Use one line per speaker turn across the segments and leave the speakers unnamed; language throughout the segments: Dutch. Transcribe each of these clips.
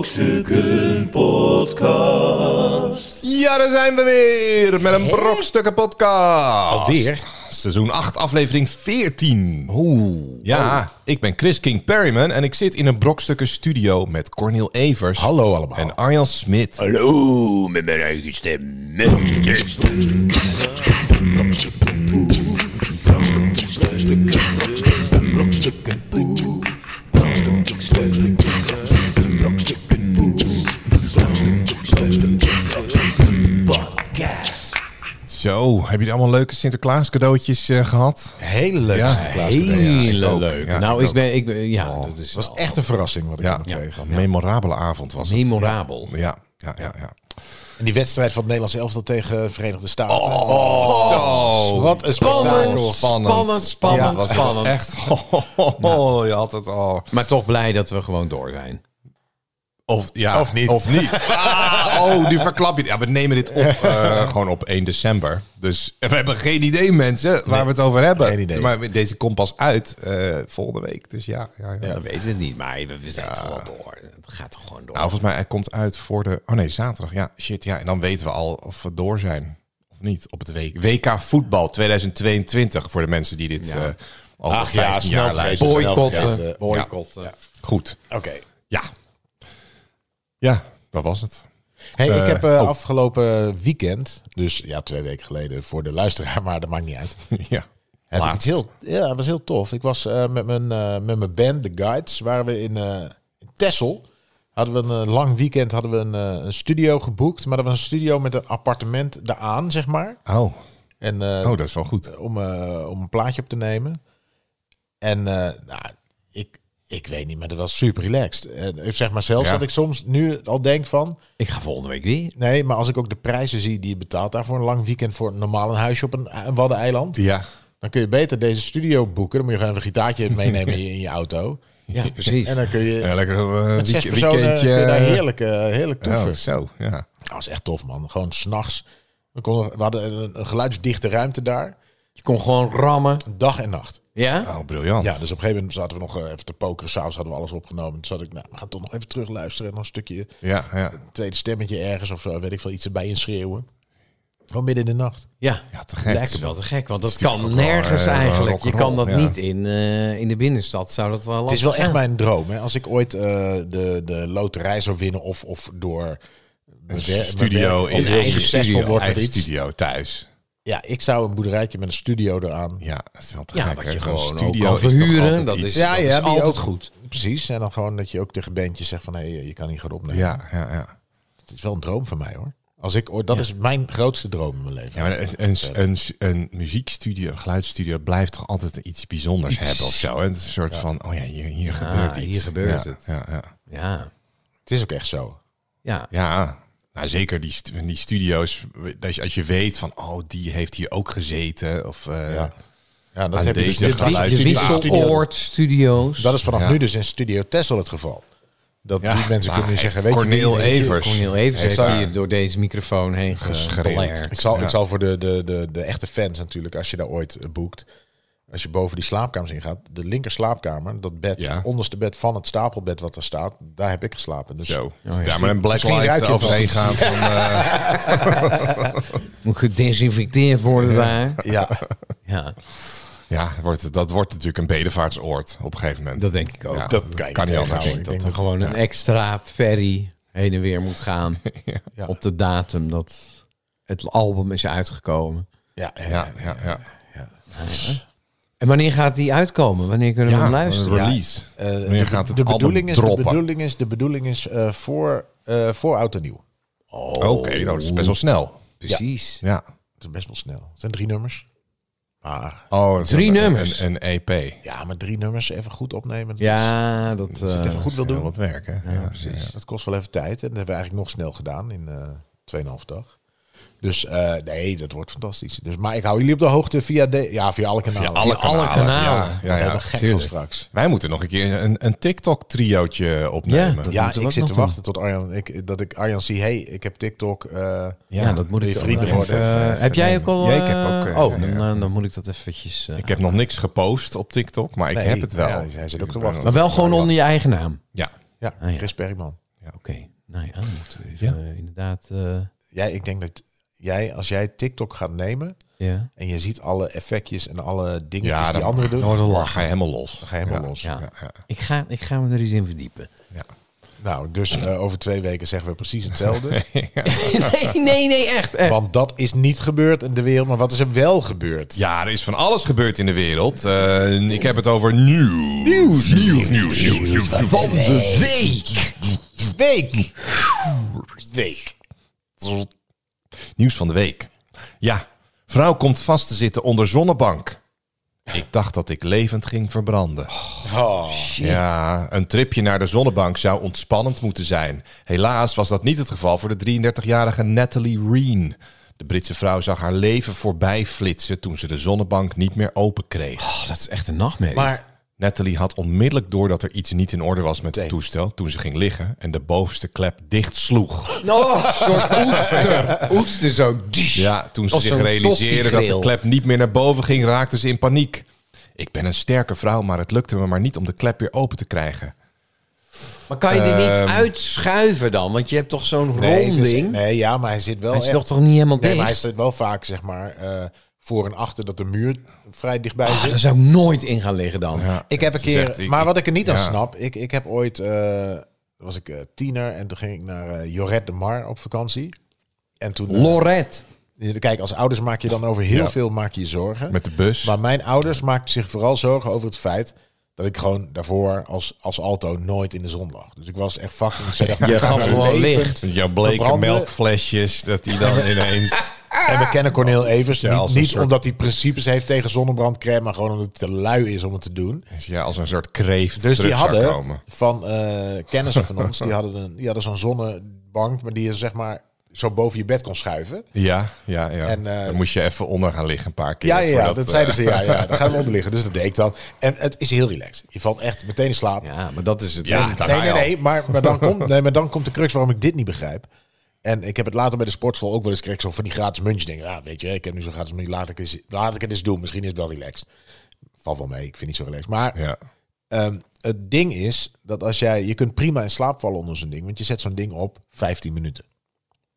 Brokstukken Podcast.
Ja, daar zijn we weer met een Brokstukken podcast.
Alweer?
Seizoen 8, aflevering 14.
Oh.
Ja, ik ben Chris King Perryman en ik zit in een Brokstukken studio met Cornel Evers.
Hallo allemaal.
En Arjan Smit.
Hallo, met mijn eigen stem.
Zo, hebben jullie allemaal leuke Sinterklaas cadeautjes eh, gehad?
Hele leuke
Ja,
Sinterklaas
ik
Hele
ook. Oh,
leuk.
Ja,
nou,
ik
ik ben, ik ben, ja, dat is
Het was
wel
echt een verrassing wat ik
Ja,
allemaal kreeg.
een memorabele avond was het.
memorabel.
Ja, ja, ja. ja.
En die wedstrijd van het Nederlands elftal tegen de Verenigde Staten.
Oh,
Oh,
zo.
Wat een spektakel.
Spannend. Spannend, spannend,
Ja, was wel
spannend.
Echt, oh, oh, oh, je had het al.
Maar toch blij dat we gewoon door zijn.
Of, ja,
Of niet.
Of niet. Ah, oh, nu verklap je het. Ja, we nemen dit op eh, gewoon op 1 december. Dus we hebben geen idee, mensen, waar we het over hebben.
geen idee.
Maar deze komt pas uit eh, volgende week. Dus ja, ja, ja.
Dat weten we het niet, maar we, we zijn toch wel door. Het gaat toch gewoon door.
Nou, volgens mij, hij komt uit voor de... Oh nee, zaterdag. Ja, shit, ja. En dan weten we al of we door zijn of niet op het week. WK Voetbal 2022, voor de mensen die dit eh al
Ach ja,
15 jaar
snel vergeten.
luisteren.
Ja, eh,
boycotten, boycotten.
Goed,
Oké.
ja. Ja, dat was het.
Hey,
Eh,
ik heb eh,
oh.
afgelopen weekend, dus ja, twee weken geleden voor de luisteraar, maar dat maakt niet uit.
ja.
Heb ik
Laatst.
iets heel, ja, het was heel tof. Ik was eh, met, mijn, eh, met mijn band, The Guides, waren we in, eh in Texel. Hadden we een eh, lang weekend, hadden we een, eh, een studio geboekt. Maar dat was een studio met een appartement daaraan, zeg maar.
Oh.
En, eh,
oh, dat is wel goed.
om, eh, om een plaatje op te nemen. En eh, nou, ik, ik weet niet, maar dat was super relaxed. En ik zeg maar zelfs
Ja.
dat ik soms nu al denk van...
Ik ga volgende week weer.
Nee, maar als ik ook de prijzen zie die je betaalt daarvoor een lang weekend voor normaal een huisje op een, een waddeneiland...
Ja.
Dan kun je beter deze studio boeken. Dan moet je gewoon even een gitaartje meenemen in je- in je auto.
Ja, precies.
En dan kun je
Ja, lekker eh,
met zes
week-
personen kun je daar
eh,
heerlijk, eh, heerlijk
oh,
toeven.
zo, ja.
Dat was echt tof, man. Gewoon s'nachts. We, konden- we hadden een, een geluidsdichte ruimte daar.
Je kon gewoon rammen.
Dag en nacht.
Ja?
Oh, briljant.
Ja, dus op een gegeven moment zaten we nog eh, even te pokeren. S'avonds hadden we alles opgenomen. Toen zat ik, nou, we gaan toch nog even terug luisteren. En nog een stukje
ja, ja.
tweede stemmetje ergens. Of zo, weet ik veel, iets erbij inschreeuwen. Gewoon midden in de nacht.
Ja.
Ja, te gek.
Dat is wel te gek, want dat
natuurlijk
kan
ook wel,
nergens
eh,
eigenlijk. Je
rock'n'roll,
kan dat
ja.
niet in, eh, in de binnenstad. Zou dat wel
Het
lastig
is wel echt
gaan.
mijn droom. Hè? Als ik ooit eh, de, de loterij zou winnen of, of door... mijn wer- mijn
studio
werk-
in
of heel
eigen
succesvol
studio,
wordt met
eigen
iets.
studio thuis.
Ja, ik zou een boerderijtje met een studio eraan.
Ja, dat is wel te
Ja,
gek.
wat
hè?
je
Zo'n
gewoon ook
studio
kan
is toch altijd
verhuren. Dat
iets.
is,
Ja,
dat
ja,
is
die
altijd
ook.
goed.
Precies. En dan gewoon dat je ook tegen bandjes zegt van... hé, hey, je kan hier gaan opnemen.
Ja, ja, ja.
Het is wel een droom van mij, hoor. Als ik, ooit- dat is mijn grootste droom in mijn leven.
ja maar een, een, een, een muziekstudio, een geluidsstudio blijft toch altijd iets bijzonders hebben of zo. hè? Het is een soort van, oh ja, hier, hier gebeurt
hier
iets.
gebeurt
Ja,
het.
Ja, ja.
Ja.
Het is ook echt zo.
Ja.
Ja, nou, zeker die, stu- die studio's. Als je, als je weet van, oh, die heeft hier ook gezeten. Of, eh,
Ja. Ja, dat
Aan
heb je dus
deze
niet
geluid-
gedaan.
De
Studio-
wisseloord studio's.
Dat is vanaf
Ja.
nu dus in Studio Tessel het geval. Dat
Ja,
die mensen
maar
kunnen
echt,
zeggen, weet je
Corneel
wie-
Evers.
Cornel Evers heeft
daar-
hier door deze microfoon heen
Geschreeuwd.
geschreeuwd.
Ik zal,
Ja.
ik zal voor de, de, de, de echte fans natuurlijk, als je daar ooit eh, boekt... Als je boven die slaapkamers ingaat, de linker slaapkamer, dat bed,
Ja.
het onderste bed van het stapelbed wat er staat, daar heb ik geslapen. Dus
Zo. ja, maar een black
misschien ruik
light
je het wel.
overheen gaan van... eh,
Moet gedesinfecteerd worden daar.
Ja,
Ja,
ja, wordt, het- dat wordt natuurlijk een bedevaartsoord op een gegeven moment.
dat denk ik ook.
Ja,
dat
dat kan je
kan
niet
niet anders.
tegenhouden. Ik
dat
denk
er
dat-
gewoon een extra ferry heen en weer moet gaan.
Ja.
Op de datum dat het album is uitgekomen.
Ja,
Ja, ja, ja.
En wanneer gaat die uitkomen? Wanneer kunnen we
Ja,
hem luisteren?
een release.
Eh,
Wanneer gaat het
de
album
bedoeling is,
droppen?
De bedoeling is, de bedoeling is eh, voor, eh, voor oud en nieuw.
Oké, nou, dat is best wel
Oh.
snel.
Precies.
Ja.
Dat is best wel snel. Het zijn drie nummers. Maar
Oh, dat is
Drie
een-
nummers.
Een, E een EP.
ja, maar drie nummers even goed opnemen. Dat is-
Ja, dat...
als je het
eh,
even goed wil
Heel
doen.
wat werk, hè? Ja, precies.
Dat kost wel even tijd. En dat hebben we eigenlijk nog snel gedaan in eh 2,5 dag. Dus eh, nee, dat wordt fantastisch. Dus, maar ik hou jullie op de hoogte via, de, ja, via alle kanalen.
alle kanalen.
kanalen.
Ja, ja,
Ja,
ja.
gek
tuurlijk.
van straks.
Wij moeten nog een keer een, een TikTok-triootje opnemen.
Ja. Dat
Ja,
moeten we
ik
ook
zit
nog
te
doen.
wachten tot Arjan, ik, dat ik Arjan zie. hey, ik heb TikTok. eh,
ja, dat moet
wil
ik
je
ook
vrienden
even-
worden. Even-
eh,
even
heb jij
nemen.
ook al...
Ja, ik heb
eh,
ook, eh,
oh,
ja, ja.
dan, dan moet ik dat eventjes... eh,
Ik heb nog niks gepost op TikTok, maar ik
Nee, nou
heb het wel.
ja, hij zit ook te wachten.
maar wel gewoon onder je eigen naam.
Ja.
Ja,
Ah, ja.
Chris Bergman.
Oké, nou ja, dan moeten we even, eh, inderdaad... eh,
Jij, ik denk dat jij, als jij TikTok gaat nemen
ja.
en je ziet alle effectjes en alle dingetjes
Ja,
die
dan-
anderen doen,
dan wordt het lach. Ga je helemaal los.
dan ga je helemaal
Ja.
los.
Ja.
Ja, ja,
Ik, ga, ik ga me er eens in verdiepen.
ja.
Nou, dus eh, over twee weken zeggen we precies hetzelfde.
nee, nee, nee, echt. echt.
Want dat is niet gebeurd in de wereld, maar wat is er wel gebeurd?
Ja, er is van alles gebeurd in de wereld. Eh, ik heb het over nieuws. Nieuws, nieuws, nieuws, nieuws, nieuws. Van de week.
Week! Week.
Nieuws van de week. Ja, vrouw komt vast te zitten onder zonnebank. Ik dacht dat ik levend ging verbranden. Ja, een tripje naar de zonnebank zou ontspannend moeten zijn. Helaas was dat niet het geval voor de 33-jarige Natalie Reen. De Britse vrouw zag haar leven voorbij flitsen toen ze de zonnebank niet meer open kreeg.
Oh, dat is echt een nachtmerrie.
Maar
Natalie had onmiddellijk door dat er iets niet in orde was met het toestel toen ze ging liggen en de bovenste klep dicht sloeg.
Oh, een soort oester. Oester zo.
Ja, toen ze
Als
zich
zo'n
realiseerde dat de
tosti-grill.
klep niet meer naar boven ging, raakte ze in paniek. Ik ben een sterke vrouw, maar het lukte me maar niet om de klep weer open te krijgen.
Maar kan je die
Ehm.
niet uitschuiven dan? Want je hebt toch zo'n
nee, het is-
ronding?
nee, ja, maar hij zit wel
Hij is
echt-
toch toch niet helemaal
Nee, maar hij
dicht?
staat wel vaak, zeg maar, eh, voor en achter dat de muur vrij dichtbij
Ah,
zit.
daar zou ik nooit in gaan liggen dan.
Ik heb een
Ze
keer,
zegt, ik-
maar wat ik er niet aan
ja.
snap, ik, ik heb ooit, eh, was ik eh, tiener en toen ging ik naar eh, Joret de Mar op vakantie. En toen, eh,
Lorette.
kijk, als ouders maak je dan over heel
Ja.
veel maak je je zorgen.
Met de bus.
Maar mijn ouders maakten zich vooral zorgen over het feit dat ik gewoon daarvoor als, als alto nooit in de zon lag. Dus ik was echt fucking... Ik zei, dacht,
Je
ik ga
gaf
nu
gewoon
leven.
licht.
Jouw bleke
Verbranden.
melkflesjes, dat die dan ineens...
En we kennen Corneel Evers
Ah. Ja, als
niet,
een
niet
soort-
omdat hij principes heeft tegen zonnebrandcrème, maar gewoon omdat hij te lui is om het te doen.
Ja, als een soort
Dus
kreeft
die
terug zou
hadden
komen.
van eh, kennissen van ons, die hadden, een, die hadden zo'n zonnebank, maar die je zeg maar zo boven je bed kon schuiven.
Ja, ja, ja.
En, eh,
dan moest je even onder gaan liggen een paar keer.
Ja, ja, ja,
voordat,
dat,
eh,
zeiden ze. Ja, ja, daar gaan we onder liggen. Dus dat deed ik dan. En het is heel relaxed. Je valt echt meteen in slaap.
Ja, maar dat is het.
Ja, daar
nee,
ga je
nee,
al.
nee. Maar, maar, dan komt, nee maar dan komt de crux waarom ik dit niet begrijp. En ik heb het later bij de sportschool ook wel eens kreeg ik zo van die gratis muntjes. Denk, ja, weet je, ik heb nu zo'n gratis muntje. Laat ik, eens, laat ik het eens doen. Misschien is het wel relaxed. Valt wel mee. Ik vind het niet zo relaxed. Maar
Ja.
Ehm, het ding is dat als jij, je kunt prima in slaap vallen onder zo'n ding, want je zet zo'n ding op 15 minuten.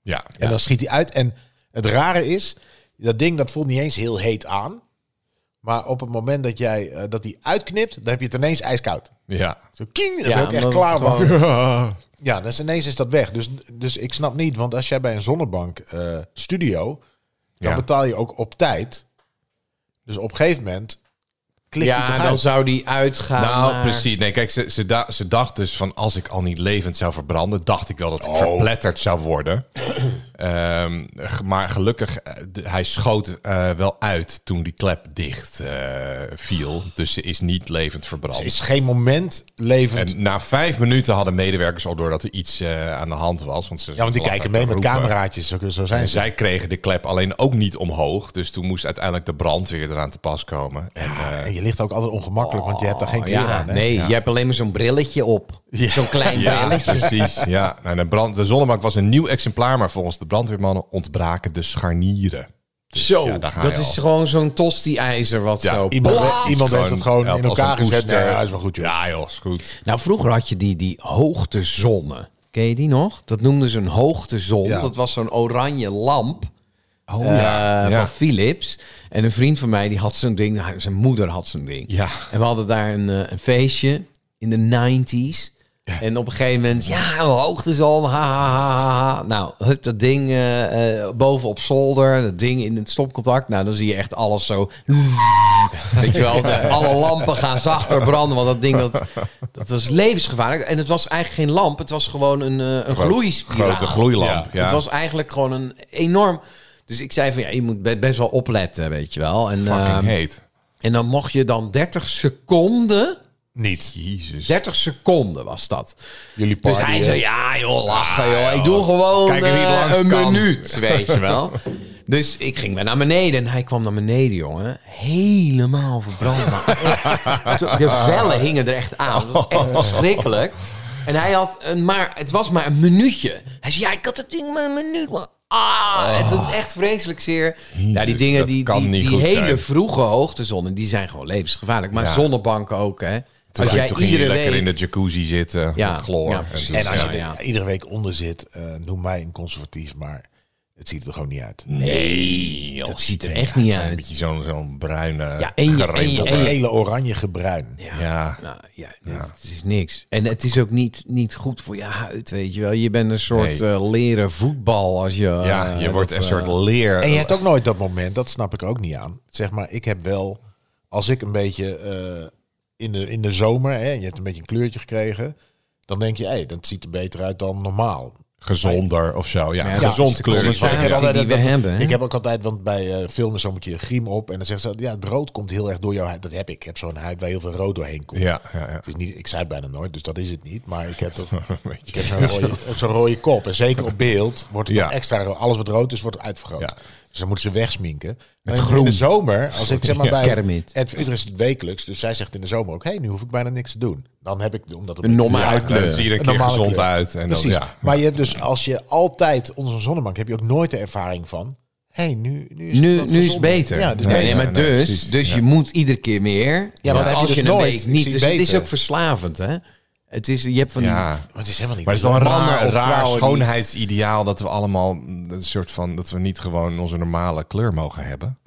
Ja, ja.
En dan schiet hij uit. En het rare is, dat ding dat voelt niet eens heel heet aan. Maar op het moment dat jij eh, dat die uitknipt, dan heb je het ineens ijskoud.
ja.
Zo king, dan
Ja,
ben ik echt
omdat
klaar
het
van.
gewoon-
Ja, dus ineens is dat weg. Dus, dus ik snap niet, want als jij bij een zonnebank eh, studio, dan
Ja.
betaal je ook op tijd. Dus op een gegeven moment klikt hij
Ja,
toch
dan
uit.
zou die uitgaan.
Nou,
naar-
precies. Nee, kijk, ze, ze, da- ze dacht dus van als ik al niet levend zou verbranden, dacht ik wel dat ik
Oh.
verpletterd zou worden. Ehm, g- maar gelukkig, eh, de- hij schoot eh, wel uit toen die klep dicht eh, viel. Dus ze is niet levend verbrand.
Er is geen moment levend
En na vijf minuten hadden medewerkers al door dat er iets eh, aan de hand was. Want ze
Ja, want die
lag
kijken
daar
mee
te
met
roepen.
cameraatjes. Zo, zo zijn
En
ze.
zij kregen de klep alleen ook niet omhoog. Dus toen moest uiteindelijk de brandweer eraan te pas komen. En, eh,
En je ligt ook altijd ongemakkelijk, want je hebt daar geen
Oh,
kleren
ja,
aan. Hè?
Nee, je hebt alleen maar zo'n brilletje op. Zo'n klein
ja,
brilletje.
precies. Ja. Nou, de, brand, de zonnebank was een nieuw exemplaar, maar volgens de brandweermannen ontbraken de scharnieren.
Zo,
ja, daar ga
dat
je
is
al.
gewoon zo'n tosti-ijzer wat
Ja,
zo...
Iemand,
Blaas!
iemand heeft het gewoon
ja,
in
als
elkaar
een
gezet.
toester.
Nee, ja, is wel goed, joh.
Ja, joh, is goed.
Nou, vroeger had je die, die hoogtezonne. Ken je die nog? Dat noemden ze een hoogtezon.
Ja.
Dat was zo'n oranje lamp
Oh
eh,
ja.
van Philips. En een vriend van mij, die had zo'n ding. Hij- Zijn moeder had zo'n ding.
Ja.
En we hadden daar een, eh, een feestje in de 90s. En op een gegeven moment, ja, een hoogtezon, ha, ha, ha, ha, ha. Nou, hup, dat ding eh, eh, boven op zolder, dat ding in het stopcontact. Nou, dan zie je echt alles zo... Weet je wel, de- alle lampen gaan zachter branden, want dat ding, dat, dat was levensgevaarlijk. En het was eigenlijk geen lamp, het was gewoon een, eh een gloeispiraal.
grote gloeilamp, ja.
Het was eigenlijk gewoon een enorm... Dus ik zei van, ja, je moet be- best wel opletten, weet je wel. En,
Fucking
ehm,
heet.
en dan mocht je dan 30 seconden. ehm,
Niet.
Jezus.
30 seconden was dat.
Jullie
Dus
party.
hij
eh,
zei: Ja, joh, lachen, joh. Ik doe gewoon
Ah, Kijk wie het
eh,
langs
een
kan.
minuut, weet je wel. Dus ik ging weer naar beneden en hij kwam naar beneden, jongen. Helemaal verbrand. Maar toen- De vellen hingen er echt aan. Dat was echt
Oh.
verschrikkelijk. En hij had een maar, het was maar een minuutje. Hij zei: Ja, ik had het ding maar een minuut, man. Ah, het doet echt vreselijk zeer. ja, die dingen,
Oh. dat
die,
kan
die,
niet
die
goed
hele
zijn.
vroege hoogtezonnen, die zijn gewoon levensgevaarlijk. Maar
Ja.
zonnebanken ook, hè.
Toen
als
ging-
jij
toen ging je
iedere
lekker
week-
in de jacuzzi zitten
Ja,
met chloor.
ja,
en,
precies.
toen
En als je
zei
er
je,
iedere week onder zit, eh, noem mij een conservatief, maar het ziet er gewoon niet uit.
nee, joh,
Dat ziet er
ja,
echt
het
niet
zijn Een
uit.
beetje zo'n zo'n bruine,
Ja,
ja,
en je- en je-
Of
en je-
gele, oranje, gebruin.
Ja.
Ja.
Nou, ja, Het, het is niks. En het is ook niet, niet goed voor je huid, weet je wel. Je bent een soort
Nee.
eh, leren voetbal als je...
ja,
eh,
je wordt
dat,
een
eh,
soort leer.
En je hebt ook nooit dat moment, dat snap ik ook niet aan. Zeg maar, ik heb wel, als ik een beetje eh, in, de, in de zomer, hè, en je hebt een beetje een kleurtje gekregen, dan denk je, hé, dat ziet er beter uit dan normaal.
gezonder of zo. Ja,
Ja,
gezond
precies.
kleur.
Precies.
ik,
Ja,
heb altijd,
die we
dat-
hebben, hè?
ik heb ook altijd, want bij eh, filmen zo moet je griem op en dan zeggen ze, ja, het rood komt heel erg door jouw huid. Dat heb ik. Ik heb zo'n huid waar heel veel rood doorheen komt.
Ja, ja, ja.
Het is niet, ik zei het bijna nooit, dus dat is het niet. Maar ik heb, dat,
Weet
ik
je.
heb zo'n, rode, zo'n rode kop. En zeker op beeld wordt het
Ja.
dan extra rood. Alles wat rood is, wordt uitvergroot.
Ja.
Dus dan moeten ze wegsminken. Met
groen.
In de zomer, als ik zeg maar
Ja.
bij...
Kermit.
Ed Vlieter is het wekelijks, dus zij zegt in de zomer ook... hé, nu hoef ik bijna niks te doen. Dan heb ik... Omdat het
Een nomme
Ja,
uitkleur.
Dan zie je er een
Een
keer
normale
gezond
kleur.
uit. En dan,
Precies.
ja.
Maar je hebt dus, als je altijd onder zo'n zonnebank... heb je ook nooit de ervaring van... hé, hey, nu, nu is het
Nu,
wat
nu is het
gezonder.
beter.
Ja, dus
nee,
beter.
nee, maar
Nee,
dus,
precies.
dus
Ja.
je moet iedere keer meer.
dat heb
want
je
als
dus
je een
nooit.
week
Ik
niet.
zie
Dus het is
beter.
ook verslavend, hè? Het is, je hebt van die-
ja.
Maar het is helemaal niet...
Maar het is wel een
Mannen
raar,
of
raar
vrouwen die-
schoonheidsideaal dat we allemaal mm, een soort van dat we niet gewoon onze normale kleur mogen hebben.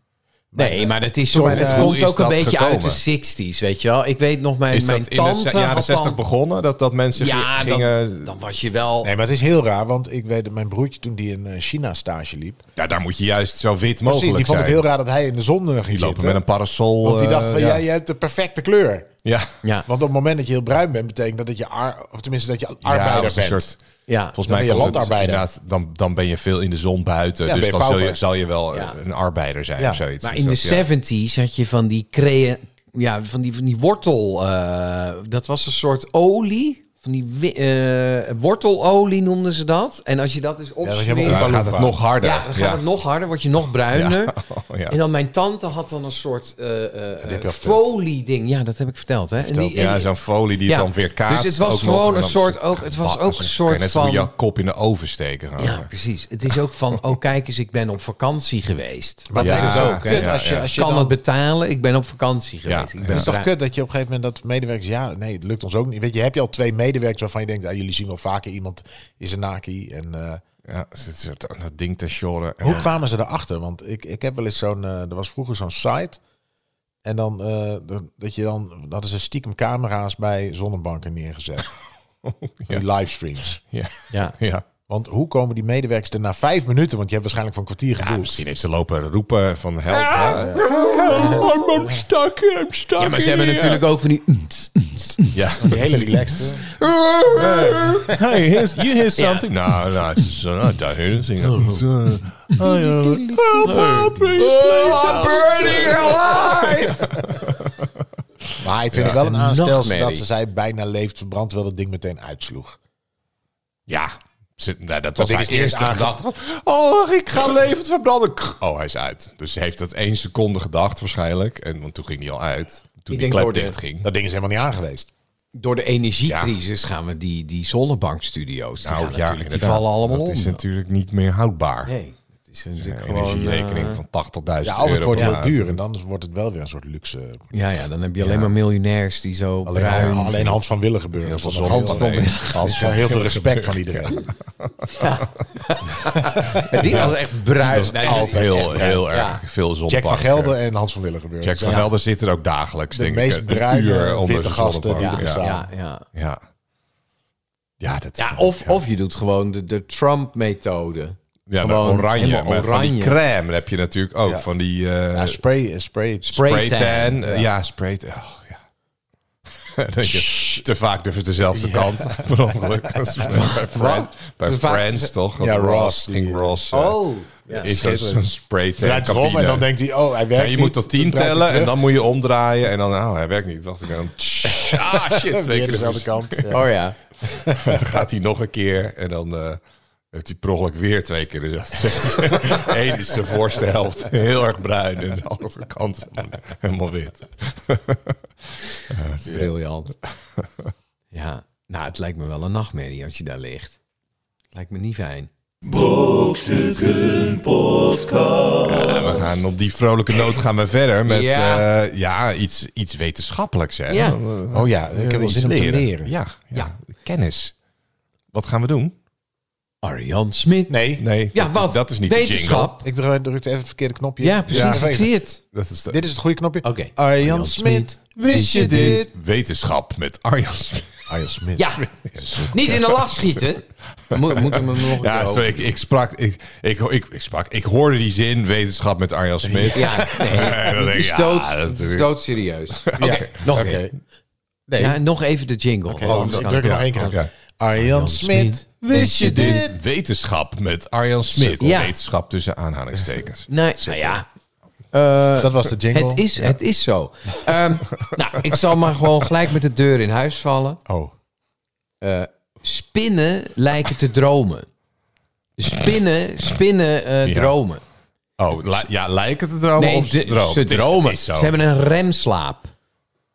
Nee, maar het, is
Toen
zo,
mijn,
het
eh,
hoe
komt
is
ook
dat
een beetje
gekomen?
uit de 60s, weet je wel. Ik weet nog, mijn,
Is
mijn
dat in
tante
de ze- jaren
had
60
dan,
begonnen? Dat, dat mensen
Ja,
gi- gingen.
dan, dan was je wel...
Nee, maar het is heel raar, want ik weet dat mijn broertje toen die in eh, China stage liep...
ja, daar moet je juist zo wit mogelijk
Precies, die vond
zijn.
het heel raar dat hij in de zon eh, ging
Die lopen
zitten.
met een parasol.
Want die
eh,
dacht van,
ja.
jij jij hebt de perfecte kleur.
ja.
Ja,
Want op het moment dat je heel bruin bent, betekent dat dat je, ar of tenminste dat je arbeider
dat is een
bent.
soort.
ja.
Volgens
Dan
mij
ben je
komt het
landarbeider.
inderdaad, dan, dan ben je veel in de zon buiten.
Ja,
dus
ben je
dan zal je,
pauper.
zal je wel eh,
Ja.
een arbeider zijn
Ja.
of zoiets.
Maar
Dus
in de
dat- ja.
70s had je van die crea ja, van die, van die wortel. eh, dat was een soort olie. Van die wi- eh, wortelolie noemden ze dat. En als je dat dus
dat is
opsmeert,
helemaal
Ja, dan gaat het
Palumpa.
nog harder.
ja, dan gaat het nog harder, word je nog bruiner.
Ja. Oh, ja.
En dan mijn tante had dan een soort eh, eh,
heb je al verteld.
folie ding. Ja, dat heb ik verteld. Hè? En die- en
ja,
die-
zo'n folie die het
Ja.
dan weer kaatst.
Dus het was
ook nog.
gewoon
En dan
een soort
zit-
ook- het was
Bah,
ook
dus
een
dan
soort
kan je net zo goed
van-
je kop in de oven steken. gewoon.
ja, precies. Het is ook van, oh kijk eens, ik ben op vakantie geweest.
Maar
Ja,
het is
ja,
ook kut
ja,
als je,
ja.
als je
kan
dan-
het betalen? Ik ben op vakantie
Ja,
geweest.
ja.
ik ben
het is toch
vrij-
kut dat je op een gegeven moment dat medewerkers... Ja, nee, het lukt ons ook niet. Weet je, heb je al twee medewerkers waarvan je denkt... ah, jullie zien wel vaker iemand is een naki. En, eh,
Ja, dus het soort, aan dat ding te sjorren.
hoe
Ja.
kwamen ze erachter? Want ik, ik heb wel eens zo'n... eh, er was vroeger zo'n site... En dan, eh, dat- dat je dan, dat is een stiekem camera's bij zonnebanken neergezet.
Oh,
Die livestreams.
Ja.
Ja.
Ja.
Want hoe komen die medewerkers er na vijf minuten? Want je hebt waarschijnlijk voor een kwartier
Ja,
geboekt.
misschien heeft ze lopen roepen van help. Ja, I'm stuck, I'm stuck
Ja, maar ze hebben
here.
natuurlijk ook van die...
Ja.
Die hele relaxed.
Hey, here's, you hear something? Nou, nou, het is, eh, nou, I don't hear anything. eh. Help, help, please, please, help.
burning alive!
Maar ik vind het wel een aanstelsen
nachtmerrie.
dat ze zei bijna leeft verbrand, terwijl dat ding meteen uitsloeg.
Ja, ze- nou, dat was
ding
haar
is eerst
eerste
aange-
gedachte. Oh, ik ga levend verbranden. Kr- Oh, hij is uit. Dus ze heeft dat één seconde gedacht waarschijnlijk. En, want toen ging hij al uit. Toen die
denk
klep
door de-
dicht ging.
Dat ding is helemaal niet aan geweest.
Door de energiecrisis gaan we die, die zonnebankstudio's... Die, gaan
Nou ja,
natuurlijk- die
inderdaad.
vallen allemaal
Dat
om.
is natuurlijk niet meer houdbaar.
Nee, het is natuurlijk
Een
gewoon...
Energierekening
eh,
van 80.000
Ja, of
euro.
het wordt
per
heel
maand.
duur en dan wordt het wel weer een soort luxe.
eh, ja, ja, dan heb je alleen maar miljonairs die zo
Alleen,
bruin...
alleen Hans van Willen gebeuren.
Heel veel
Dat is nog
zonnepanelen.
heel-
Hans van
Ik heb eh, heel veel
Willen
respect van iedereen.
Ja, die was echt bruin. Nee, dat-
Altijd heel, heel
ja.
erg veel zon.
Jack van Gelder en Hans van Willen gebeuren. Dus
Jack van
Ja.
Gelder zit er ook dagelijks,
De
denk
meest
ik. een
bruine,
uur onder
witte
zijn
gasten die
zonnebank.
er
ja.
bestaan.
ja, ja.
Ja. Ja, dat is
Ja,
toch-
of,
ja.
of je doet gewoon de, de Trump-methode.
Ja, nou,
gewoon
oranje.
helemaal
Maar van die
oranje.
crème heb je natuurlijk ook.
Ja.
Van die eh,
Ja, spray, eh, spray.
Spray tan.
Spraytan. eh, ja, spraytan. Oh, ja. Dan denk je, te vaak de, dezelfde kant. Per ongeluk. Dat is bij Friends, bij
Te vaak-
Friends toch? Want
Ja,
Ross.
Ross, die-
ging Ross. eh,
Oh, ja.
Is zo'n- zo'n spraytan
Draait erom
cabine.
en dan denkt hij, oh, hij werkt
ja, je moet
niet.
tot 10
Dan draait hij
tellen en
terug.
dan moet je omdraaien. En dan, oh, hij werkt niet. Wacht ik dan. Ah, shit. Twee
Weer
keer
dezelfde
dezelfde
kant. ja.
Oh ja.
Dan gaat hij nog een keer en dan eh, heeft hij per ongeluk weer twee keer. Dus dat zegt hij, Eén is de voorste helft heel erg bruin en de andere kant helemaal- helemaal wit.
Briljant. Ja, nou, het lijkt me wel een nachtmerrie als je daar ligt. Lijkt me niet fijn.
Brokstukken Podcast.
Ja, we gaan op die vrolijke noot gaan we verder met
Ja.
ja. ja, iets, iets wetenschappelijks. Hè?
Ja.
Oh ja, ik heb wel
iets
zin om te leren.
Ja, ja, kennis. Wat gaan we doen?
Arjan Smit.
Nee,
Nee,
Ja,
dat,
wat?
is, dat is niet de
Wetenschap.
ik dru- drukte even het verkeerde knopje.
Ja, precies.
Ja,
ik zie het.
jingle. Dat is de-
Dit is het goede knopje.
Oké.
Arjan Smit, wist je dit?
Wetenschap met Arjan Smit.
Arjan Smit.
Ja, niet in de lach schieten. Mo moeten we hem nog
Ja,
een keer
sorry, ik, ik sprak, ik, ik, ik, ik sprak, ik hoorde die zin, wetenschap met Arjan Smit.
open- Ja,
En dan
nee.
denk ik,
Het is
ja,
dood,
dat
het
is-
is dood serieus. Oké, nog een keer.
Nee.
Ja, nog even de jingle.
Oké, dan- dan druk Oh, ik nog één keer. op.
Ja.
Arjan Smit, wist je dit?
Wetenschap met Arjan Smit.
Ja.
Wetenschap tussen aanhalingstekens.
Nee, nou ja,
Dat was de jingle.
het is, het is zo. Ehm, nou, ik zal maar gewoon gelijk met de deur in huis vallen.
Oh.
Spinnen lijken te dromen. Spinnen, spinnen eh,
Ja.
dromen.
Oh, li- ja, lijken te dromen
Nee,
Oh, of
de-
dromen?
ze
Het is-
dromen.
het is zo.
Ze hebben een remslaap.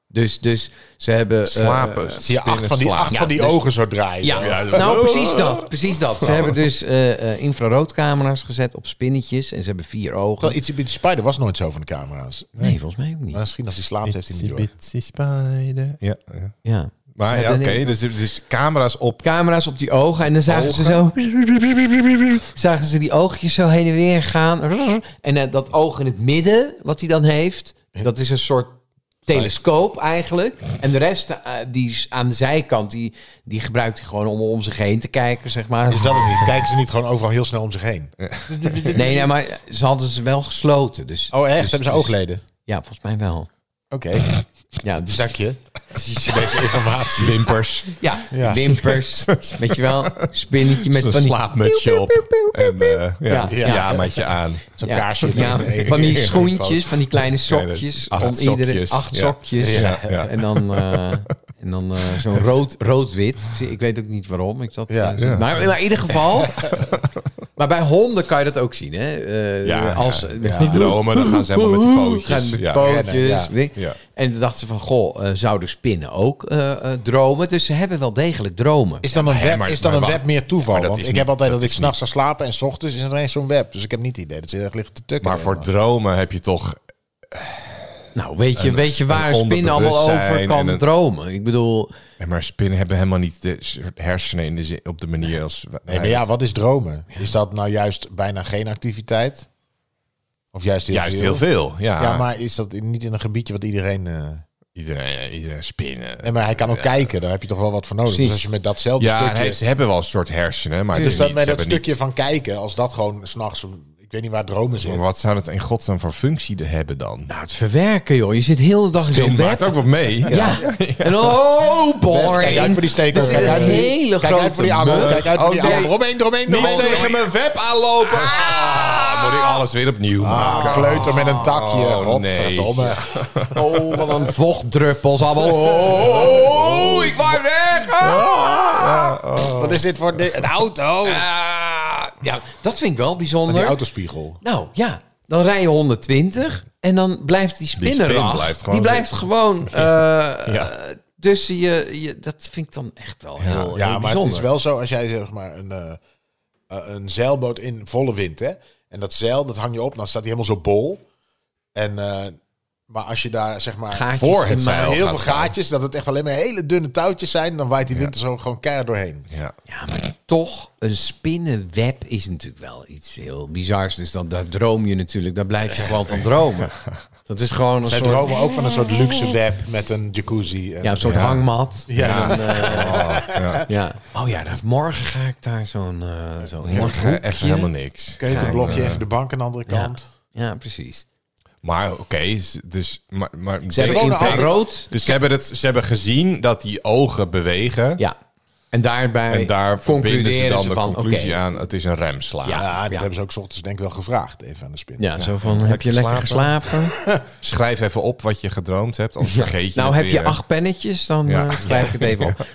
Dus, dus ze hebben... eh,
slapen.
Zie je acht van die, acht
Ja,
van die
dus-
ogen zo draaien.
Ja,
Ja,
nou
oh.
precies dat, precies dat. Ze hebben dus eh, eh, infraroodcamera's gezet op spinnetjes en ze hebben vier
Wel,
ogen.
Itsy Bitsy Spider was nooit zo van de camera's.
Nee, volgens mij ook
Maar
niet.
misschien als hij slaapt heeft hij niet
Itsy
door.
bitsy spider. Ja, ja.
Ja.
Maar
Ja,
ja,
dan
oké,
denk
dus,
ik-
dus camera's op.
Camera's op die ogen en dan zagen ze zo... Zagen ze die oogjes zo heen en weer gaan. En eh, dat oog in het midden, wat hij dan heeft, dat is een soort telescoop eigenlijk. En de rest, eh, die is aan de zijkant, die, die gebruikt hij gewoon om om zich heen te kijken, zeg maar.
Is dat het niet? Kijken ze niet gewoon overal heel snel om zich heen?
Nee, nee, maar ze hadden ze wel gesloten. Dus,
Oh echt?
dus-
hebben ze
dus-
oogleden?
Ja, volgens mij wel.
Oké,
Ja, dus
dank je. Deze informatie.
Wimpers.
Ja,
Ja.
wimpers, weet je wel, spinnetje met
Een
van die...
slaapmutsje op. En eh, ja,
Ja, ja.
pyjamaatje aan.
Zo'n
ja,
kaarsje.
ja,
Nee.
van die schoentjes, van die kleine sokjes.
acht
om iedere
sokjes.
acht
Ja.
sokjes.
Ja, ja.
En dan, eh, en dan eh, zo'n rood, rood-wit. Ik weet ook niet waarom. Ik zat,
Ja,
eh, zo-
ja.
Maar maar in ieder geval... maar bij honden kan je dat ook zien, hè? Eh,
Ja,
als,
ja.
als
Die dromen, dan gaan ze helemaal met die pootjes.
Gaan met
Ja.
pootjes.
ja.
ding.
Ja.
En toen dachten ze van, goh, eh, zouden spinnen ook eh, eh, dromen? Dus ze hebben wel degelijk dromen.
Is dan een
maar-
web,
maar-
is dan
maar
een
wacht.
web meer toeval?
Maar dat
Want ik
is
heb
niet-
altijd dat,
dat
ik
is
s'nachts ga slapen en s ochtends is er ineens zo'n web. Dus ik heb niet het idee dat ze echt liggen te tukken.
Maar voor
helemaal.
dromen heb je toch...
Nou, weet je, weet je
een
waar een spin allemaal over
onderbewustzijn
kan
en een-
dromen? Ik bedoel,
Nee, Maar spinnen hebben helemaal niet de soort hersenen in de zin, op de manier als... wij-
Nee, maar ja, wat is dromen? Is dat nou juist bijna geen activiteit? Of juist heel
Juist
veel?
heel veel, ja.
Ja, maar is dat niet in een gebiedje wat iedereen... eh,
Iedereen, eh, iedereen spinnen.
Nee, maar hij kan ook kijken. Daar heb je toch wel wat voor nodig.
Precies.
Dus als je met datzelfde
ja,
stukje...
nee, ze hebben wel een soort hersenen, maar... het
Dus
is
dat,
niet-
met
ze
dat
hebben
stukje van kijken, als dat gewoon s'nachts... Ik weet niet waar dromen
niet-
zitten.
Maar wat zou dat in godsnaam voor functie de- hebben dan?
nou, het verwerken, joh. Je zit heel de dag in
Je
zo'n
maakt
bed.
ook wat mee. Ja.
Ja. En oh, boring.
Kijk uit voor die stekel.
Er zit
Kijk uit
een
voor die-
hele
kijk uit voor die
grote
angel.
mug.
Kijk uit voor
Oh,
die
nee.
angel. Eromheen, eromheen,
Niet
eromheen.
tegen mijn web aanlopen. Ah, moet ik alles weer opnieuw maken.
Ah, kleuter met een takje.
Oh,
Godverdomme.
Oh, wat een vochtdruppels allemaal. Oh, oh, oh, oh, ik wou weg. Ah.
Wat is dit voor di- een auto?
oh. Ah. Ja, dat vind ik wel
Die
bijzonder.
autospiegel.
Nou ja, dan rij je 120 en dan blijft die
spin
spinnenracht.
blijft gewoon
die blijft
zitten.
gewoon. eh,
Ja.
Tussen je, je. Dat vind ik dan echt wel heel. heel
Ja, maar het
bijzonder.
is wel zo als jij zeg maar een, eh, eh, een zeilboot in volle wind hè. En dat zeil, dat hang je op, dan staat hij helemaal zo bol. En, eh, maar als je daar zeg maar
Gaatjes
voor het
in maken.
zeil heel veel
Gaat staan.
gaatjes, dat het echt alleen maar hele dunne touwtjes zijn, dan waait die wind er zo gewoon keihard doorheen.
Ja.
Ja, maar toch, een spinnenweb is natuurlijk wel iets heel bizars. Dus dan, daar droom je natuurlijk. Daar blijf je gewoon van dromen. Dat is gewoon een
Zij
soort.
dromen ook van een soort luxe web met een jacuzzi. En,
Ja, een soort hangmat.
Ja.
En, eh,
Oh, ja.
ja. Oh ja, dan- morgen ga ik daar zo'n. eh zo'n
Morgen even helemaal niks.
keukenblokje, even de bank aan de andere
Ja.
kant.
ja, precies.
Maar oké, z- dus... Maar, maar,
Ze hebben
wonen altijd-
infrarood.
dus ze hebben, het, ze hebben gezien dat die ogen bewegen.
Ja. En daarbij
En daar verbinden ze
concluderen
dan
ze
de
van,
conclusie
oké.
aan. Het is een remslaap.
Ja,
Ja.
dat hebben ze ook 's ochtends denk ik wel gevraagd, even aan de spin.
Ja, zo van, heb je lekker geslapen?
Schrijf even op wat je gedroomd hebt, anders vergeet je
nou,
het
heb je
weer.
acht pennetjes, dan
Ja.
eh, schrijf ik het even op.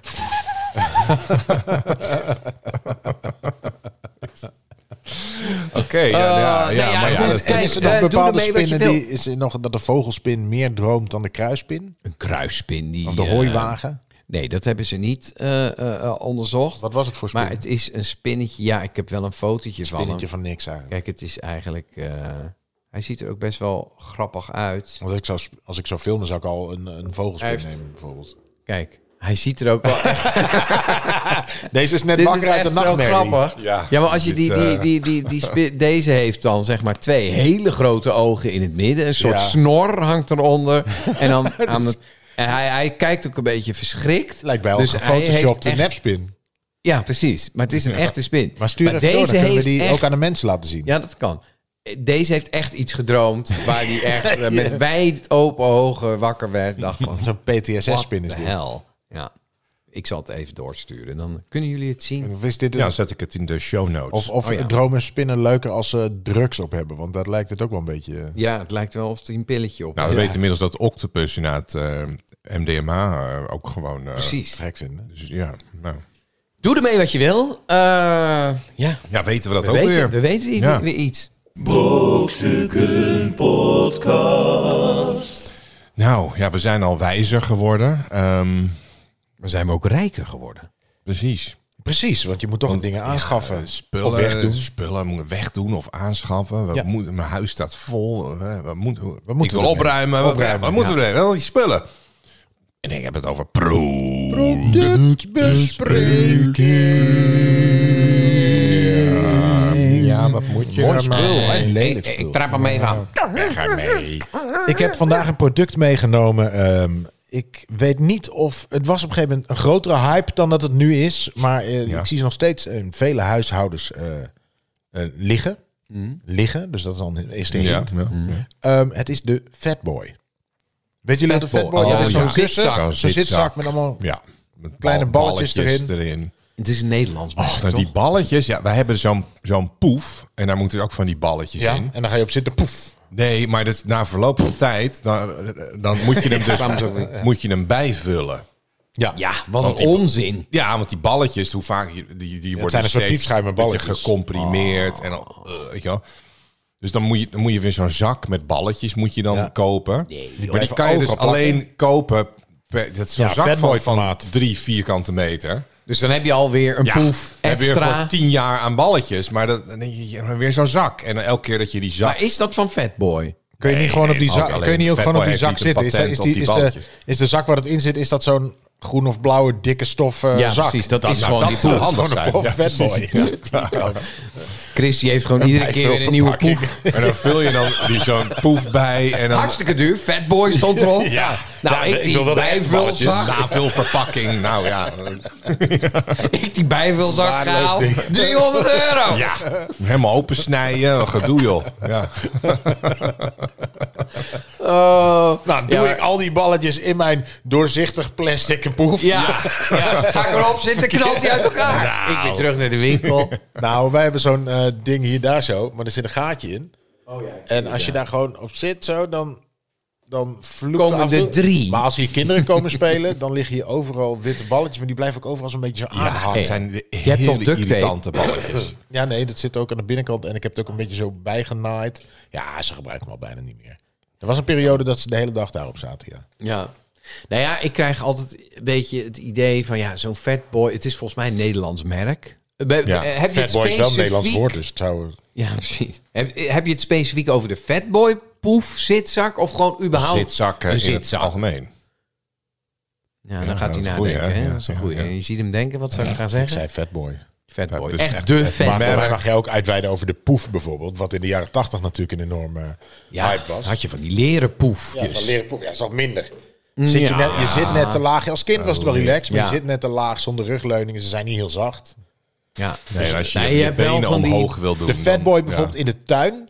Oké, ja, ja,
Eh,
ja,
nou ja,
maar ja,
ik
dat-
vind het-
En is er
Kijk,
nog
eh, doe
bepaalde
ermee wat je
spinnen
wil.
die is er nog dat de vogelspin meer droomt dan de kruispin
Een kruisspin die...
of de
eh,
hooiwagen?
Nee, dat hebben ze niet eh, eh, eh, onderzocht.
Wat was het voor
Maar
spinnetje?
het is een spinnetje. Ja, ik heb wel een fotootje van hem.
Spinnetje van niks eigenlijk.
Kijk, het is eigenlijk... eh, hij ziet er ook best wel grappig uit.
Want ik zou, sp- als ik zou filmen, zou ik al een, een vogelspin
Hij heeft-
nemen bijvoorbeeld.
Kijk, hij ziet er ook wel echt
Deze is net
Dit
wakker
is
uit de
echt zo
nachtmerrie.
grappig.
Ja,
Ja, maar als je
dit,
die, die,
eh,
die, die, die spi- deze heeft dan zeg maar twee hele grote ogen in het midden. Een soort
Ja.
snor hangt eronder. En dan aan het. En hij, hij kijkt ook een beetje verschrikt.
lijkt bij al
Dus
dus
hij
gefotoshopte
heeft echt-
nepspin.
Ja, precies. Maar het is een echte spin.
Maar stuur even door,
deze
dan kunnen we
heeft
die
echt-
ook aan de mensen laten zien.
Ja, dat kan. Deze heeft echt iets gedroomd. Waar hij echt eh, met wijd open ogen wakker werd. Dacht van,
Zo'n PTSS-spin is
what the
dit.
hell? Ja. Ik zal het even doorsturen. Dan kunnen jullie het zien.
Of is dit een-
Ja, dan zet ik het in de show notes.
of of
Oh, ja.
dromen spinnen leuker als ze drugs op hebben? Want dat lijkt het ook wel een beetje... eh,
Ja, het lijkt wel of hij een pilletje op
nou, we
heeft.
weten inmiddels dat octopus inderdaad eh MDMA eh, ook gewoon... eh,
Precies.
gek vinden.
Dus ja, nou.
Doe ermee wat je wil. Eh, ja,
ja, weten we dat
we
ook
weten, dus.
weer.
we weten i-
Ja.
weer iets.
Brokstukken Podcast.
Nou, ja, we zijn al wijzer geworden. Ehm,
Maar zijn we ook rijker geworden?
precies.
Precies, want je moet toch dingen
eh,
aanschaffen.
Spullen,
Of wegdoen.
spullen moeten we wegdoen of aanschaffen. We
Ja.
moeten, mijn huis staat vol. We, we moeten, we
moeten
moeten
ermee?
opruimen. Wat-
Opruimen,
wat moeten we doen? Wel die spullen. En ik heb het over pro.
Ja, wat moet je Mooi spul, hè? Lelijk
eh, Ik,
spul.
ik trap hem even aan.
Ik heb vandaag een product meegenomen. ehm, ik weet niet of... Het was op een gegeven moment een grotere hype dan dat het nu is. Maar eh,
Ja.
ik zie ze nog steeds in vele huishoudens eh, eh, liggen. Liggen, dus dat is dan is de
Ja,
hint.
ja.
Ehm, het is de Fatboy. Weet jullie wat een
Fatboy,
Fatboy is?
oh,
dat is?
ja.
Zo'n kussen,
Zo'n
zo'n
zitzak.
zitzak met allemaal...
Ja, met
Kleine
bal-
balletjes
Het is een Nederlands
Och,
merk,
nou,
toch?
die balletjes. Ja, wij hebben zo'n zo'n poef. En daar moeten ook van die balletjes
Ja,
in.
en dan ga je op zitten, poef.
Nee, maar dus na verloop van tijd, dan, dan moet je hem dus
kwamen ze ook niet.
moet je hem bijvullen.
Ja,
Ja, wat
Want
een
die-
onzin.
Ja, want die balletjes, hoe vaak je- die, die worden dus
zijn een soort
steeds
piepschuimen
een beetje
balletjes. Ah.
gecomprimeerd en dan, eh, weet je wel. Dus dan moet je, dan moet je weer zo'n zak met balletjes moet je dan
Ja.
kopen. maar die
Even
kan je dus
overal plakken.
alleen kopen. Per, dat is zo'n
Ja,
zak
Fatboy
van, van
formaat.
drie vierkante meter.
Dus dan heb je alweer een poef
heb je weer voor
extra.
tien jaar aan balletjes, maar dat, dan denk je, je hebt weer zo'n zak. En dan elke keer dat je die zak...
Maar is dat van Fatboy?
Kun je niet
Nee,
gewoon op
nee,
die
altijd
zak, kun je
alleen
niet ook gewoon op
Fatboy
die zak
heeft niet
zitten?
een
Is, dat- is,
patent op
die,
die
is, de,
balletjes.
is de zak waar het in zit, is dat zo'n groen of blauwe dikke stof eh,
Ja,
zak?
precies, dat is
nou,
gewoon die
zou
poef.
handig
Gewoon een
zijn.
pof
Ja,
fatboy.
precies.
Chris die heeft gewoon iedere keer weer een nieuwe poef.
En dan vul je dan die zo'n poef bij en dan...
Hartstikke duur. Fatboy stond erop.
Ja,
Nou, ik, die bijvulzak.
Na veel verpakking, nou ja.
Ik die bijvulzak gehaald. 300 euro.
Ja, helemaal opensnijden, wat gedoe joh. Ja.
Oh.
Nou, doe
Ja,
ik al die balletjes in mijn doorzichtig plastic poef.
Ja, ja. ga ik erop zitten, knalt hij uit elkaar. Ik weer terug naar de winkel.
Nou, wij hebben zo'n eh, ding hier daar zo, maar er zit een gaatje in.
Oh, ja.
En als je daar gewoon op zit zo, dan, dan vloekt
Komen
af en toe-
er drie.
Maar als hier kinderen komen spelen, dan liggen hier overal witte balletjes. Maar die blijven ook overal zo'n beetje zo
Ja,
aangehaald.
Ah, het
Ja,
zijn de
Je hebt toch
hele
duct tape?
irritante balletjes.
nee, dat zit ook aan de binnenkant. En ik heb het ook een beetje zo bijgenaaid. Ja, ze gebruiken hem al bijna niet meer. Er was een periode dat ze de hele dag daarop zaten, ja.
Ja. Nou ja, ik krijg altijd een beetje het idee van ja, zo'n fatboy. Het is volgens mij een Nederlands merk. Be-
Ja,
eh, heb je het
Fatboy is wel een Nederlands
specifiek-
woord, dus het zou...
Ja, precies. Heb, heb je het specifiek over de fatboy poef zitzak of gewoon überhaupt?
Zitzakken in het
zitzak.
algemeen.
Ja, dan
Ja,
gaat hij
dat is een
nadenken.
goeie, hè?
hè?
Ja,
dat is een
ja,
goeie.
ja.
Je ziet hem denken, wat zou ik gaan
Ik
zeggen?
zei fatboy.
Fatboy.
dus
echt,
echt
de
het
Maar
fatboy.
voor mij
merk.
mag jij ook uitweiden over de poef bijvoorbeeld. Wat in de jaren tachtig natuurlijk een enorme
Ja,
hype was.
had je van die leren
Ja, van
poefjes.
leren proeven. Ja, is wat minder. Zit je, net, je zit net te laag. Als kind was het wel relaxed, maar
Ja.
je zit net te laag zonder rugleuningen. Ze zijn niet heel zacht.
Ja.
Nee, als je
Nee,
je,
je hebt wel
benen
van die-
omhoog wil doen.
De fatboy
dan-
bijvoorbeeld
Ja.
in de tuin.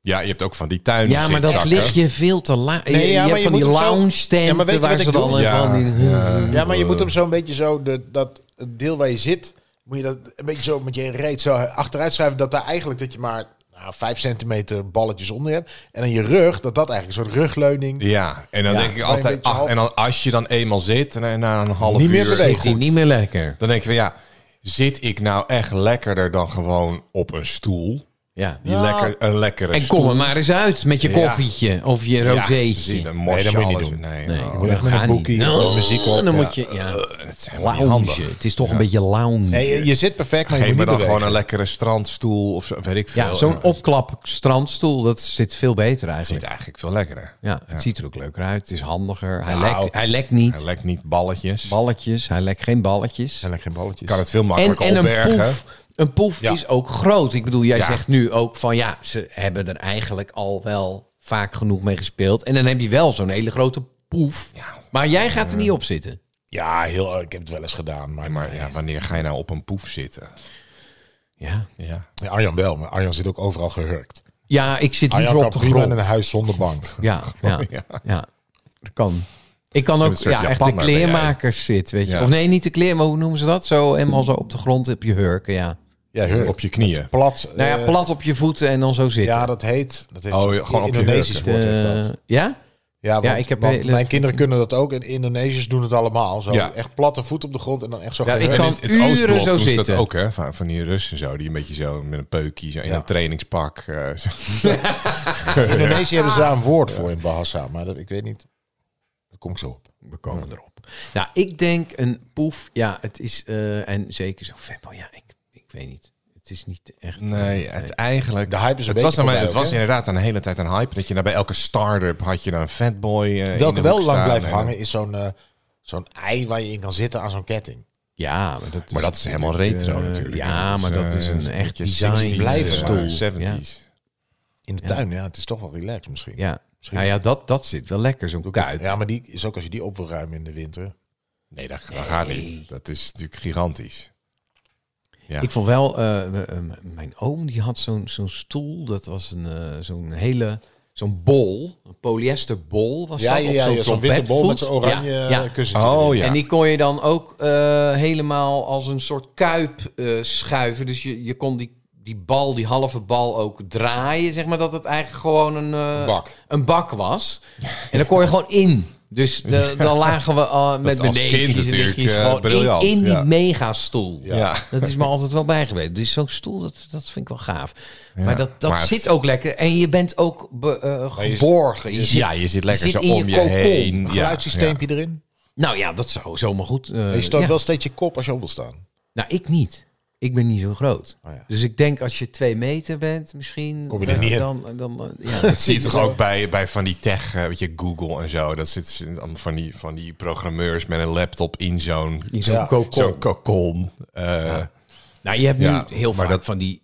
Ja, je hebt ook van die tuin
Ja, maar dat
zitzakken.
ligt je veel te laag.
Nee,
je,
ja,
je
maar
hebt
je
van die
moet hem zo-
lounge tenten
Ja, maar weet je
waar
wat
ze
ik
dan
doe?
ja.
Ja,
van die... Hm,
Ja, maar je moet hem zo'n beetje zo, de, dat het deel waar je zit, moet je dat een beetje zo met je reet zo achteruit schuiven. Dat daar eigenlijk dat je maar nou, vijf centimeter balletjes onder hebt. En dan je rug, dat dat eigenlijk een soort rugleuning.
Ja, en dan
Ja,
denk ik
een
altijd...
beetje
ach,
half-
en dan, als je dan eenmaal zit, en na een half
Niet meer
uur...
bewegen.
Zit hij niet meer lekker.
Dan denk ik van ja, zit ik nou echt lekkerder dan gewoon op een stoel?
Ja.
Die lekker, een lekkere
En kom er maar eens uit met je
Ja.
koffietje of je rozeetje.
Nee, dat moet
dat moet je niet doen.
Nee,
Nee,
oh,
dat
echt met
gaat
een
niet.
boekie of met muziek op,
En dan
ja.
moet je... Ja,
eh, dat is helemaal niet
lounge.
handig.
Het is toch een beetje lounge.
Nee, je, je zit perfect, maar je
Geef
moet
me
niet
dan gewoon
bewegen.
een lekkere strandstoel of zo, weet ik veel.
ja, zo'n opklap strandstoel, dat zit veel beter
zit
eigenlijk.
eigenlijk veel lekkerder.
Ja, het ziet er ook leuker uit. Het is handiger. Hij,
Nou,
lekt, hij lekt niet.
Hij lekt niet balletjes.
balletjes. Hij lekt geen balletjes.
En geen balletjes.
kan het veel
En,
makkelijker
en een
opbergen.
poef, een poef
Ja.
is ook groot. Ik bedoel, jij
Ja.
zegt nu ook van ja, ze hebben er eigenlijk al wel vaak genoeg mee gespeeld. En dan heb je wel zo'n hele grote poef. Maar jij gaat er niet op zitten.
Ja, heel, ik heb het wel eens gedaan. Maar,
Maar ja, wanneer ga je nou op een poef zitten?
Ja,
Ja.
Ja, Arjan wel, maar Arjan zit ook overal gehurkt.
ja ik zit
Arjan
liever
kan
op de
prima in
grond.
een huis zonder bank.
Ja, ja, ja, dat kan. Ik kan ook
een soort
ja, echt de
Japanner ben jij.
kleermakers zit, weet je.
Ja.
Of nee, niet de kleer, maar hoe noemen ze dat? Zo helemaal zo op de grond op je hurken, ja.
Ja, hurkt.
Op je knieën.
Plat. eh,
Nou ja, plat op je voeten en dan zo zitten.
Ja, dat heet... Dat heeft,
Oh, ja, gewoon op je
Indonesisch
hurken.
woord heeft
Eh,
dat.
ja?
Ja, want,
ik heb
want
hele-
mijn kinderen kunnen dat ook. En Indonesiërs doen het allemaal. Zo
Ja.
echt platte voet op de grond en dan echt zo
Ja, ik
gehurkt.
kan-
In het, het
uren
Oostblok
zo
doen ze dat
zitten.
ook, hè? Van, van die Russen zo, die een beetje zo met een peukje, zo in
Ja.
een trainingspak. eh, zo.
In Indonesië hebben ze daar een woord voor in Bahasa. Maar dat, ik weet niet. Daar kom ik zo op.
We komen erop. Nou, ik denk een poef. Ja, het is. eh, en zeker zo'n Fembo. Ja, ik, ik weet niet. Het is niet echt. eh,
Nee, het eigenlijk...
De hype is een
het was,
beetje
nou,
voorbij
maar- het was
ook, hè?
inderdaad een hele tijd een hype. Dat je nou bij elke start-up had je dan een fatboy eh, in
Welke
de
wel
hoek
lang
staan
blijft
en-
hangen is zo'n eh, zo'n ei waar je in kan zitten aan zo'n ketting.
Ja, maar dat is,
Maar dat is helemaal retro
eh,
natuurlijk.
Ja, maar dat
eh,
is een echt design
blijven
stoel.
stoel. 70s.
Ja.
In de tuin, ja. Het is toch wel relaxed misschien.
Ja. Nou ja, dat, dat zit wel lekker, zo'n kuit.
Ja, maar die is ook als je die op wil ruimen in de winter.
Nee, dat, dat gaat niet. Dat is natuurlijk gigantisch. Ja.
Ik vond wel, eh, m- m- mijn oom die had zo'n zo'n stoel, dat was een, eh, zo'n hele, zo'n bol, een polyesterbol was
Ja,
dat,
ja,
op
ja, ja,
zo'n
zo'n witte bol met
trompetvoet.
zo'n oranje
Ja,
eh,
ja.
kussentje.
Oh ja.
En die kon je dan ook eh, helemaal als een soort kuip eh, schuiven. Dus je, je kon die, die bal, die halve bal ook draaien. Zeg maar dat het eigenlijk gewoon een, eh,
Bak.
een bak was. En dan kon je gewoon in. Dus de- dan lagen we al met
is als
benedenjes
kind
en
natuurlijk,
lichtjes
eh,
gewoon
briljant,
in, in die
ja.
megastoel.
Ja.
Dat is me altijd wel bijgebleven. Dus zo'n stoel, dat, dat vind ik wel gaaf. maar dat, dat
maar-
zit ook lekker. En je bent ook be- eh,
je-
geborgen. Je zit-
Dus ja, je zit lekker
zit
zo
in
om je,
kokon.
heen.
Een
Ja,
geluidssysteempje erin.
Nou ja, dat zou zomaar goed. eh,
En je stoot
ja.
wel steeds je kop als je op wil staan.
Nou, ik niet. Ik ben niet zo groot.
Oh ja.
Dus ik denk als je twee meter bent, misschien.
Kom je er
eh,
niet in.
dan, dan, dan- eh, ja,
Dat zie je toch ook bij, bij van die tech, eh, weet je, Google en zo. Dat zitten ze- van die, van die programmeurs met een laptop in zo'n
niet zo'n
Ja.
kokon.
zo'n cocon. Eh,
Nou, je hebt nu
Ja,
heel
maar
vaak
dat-
van die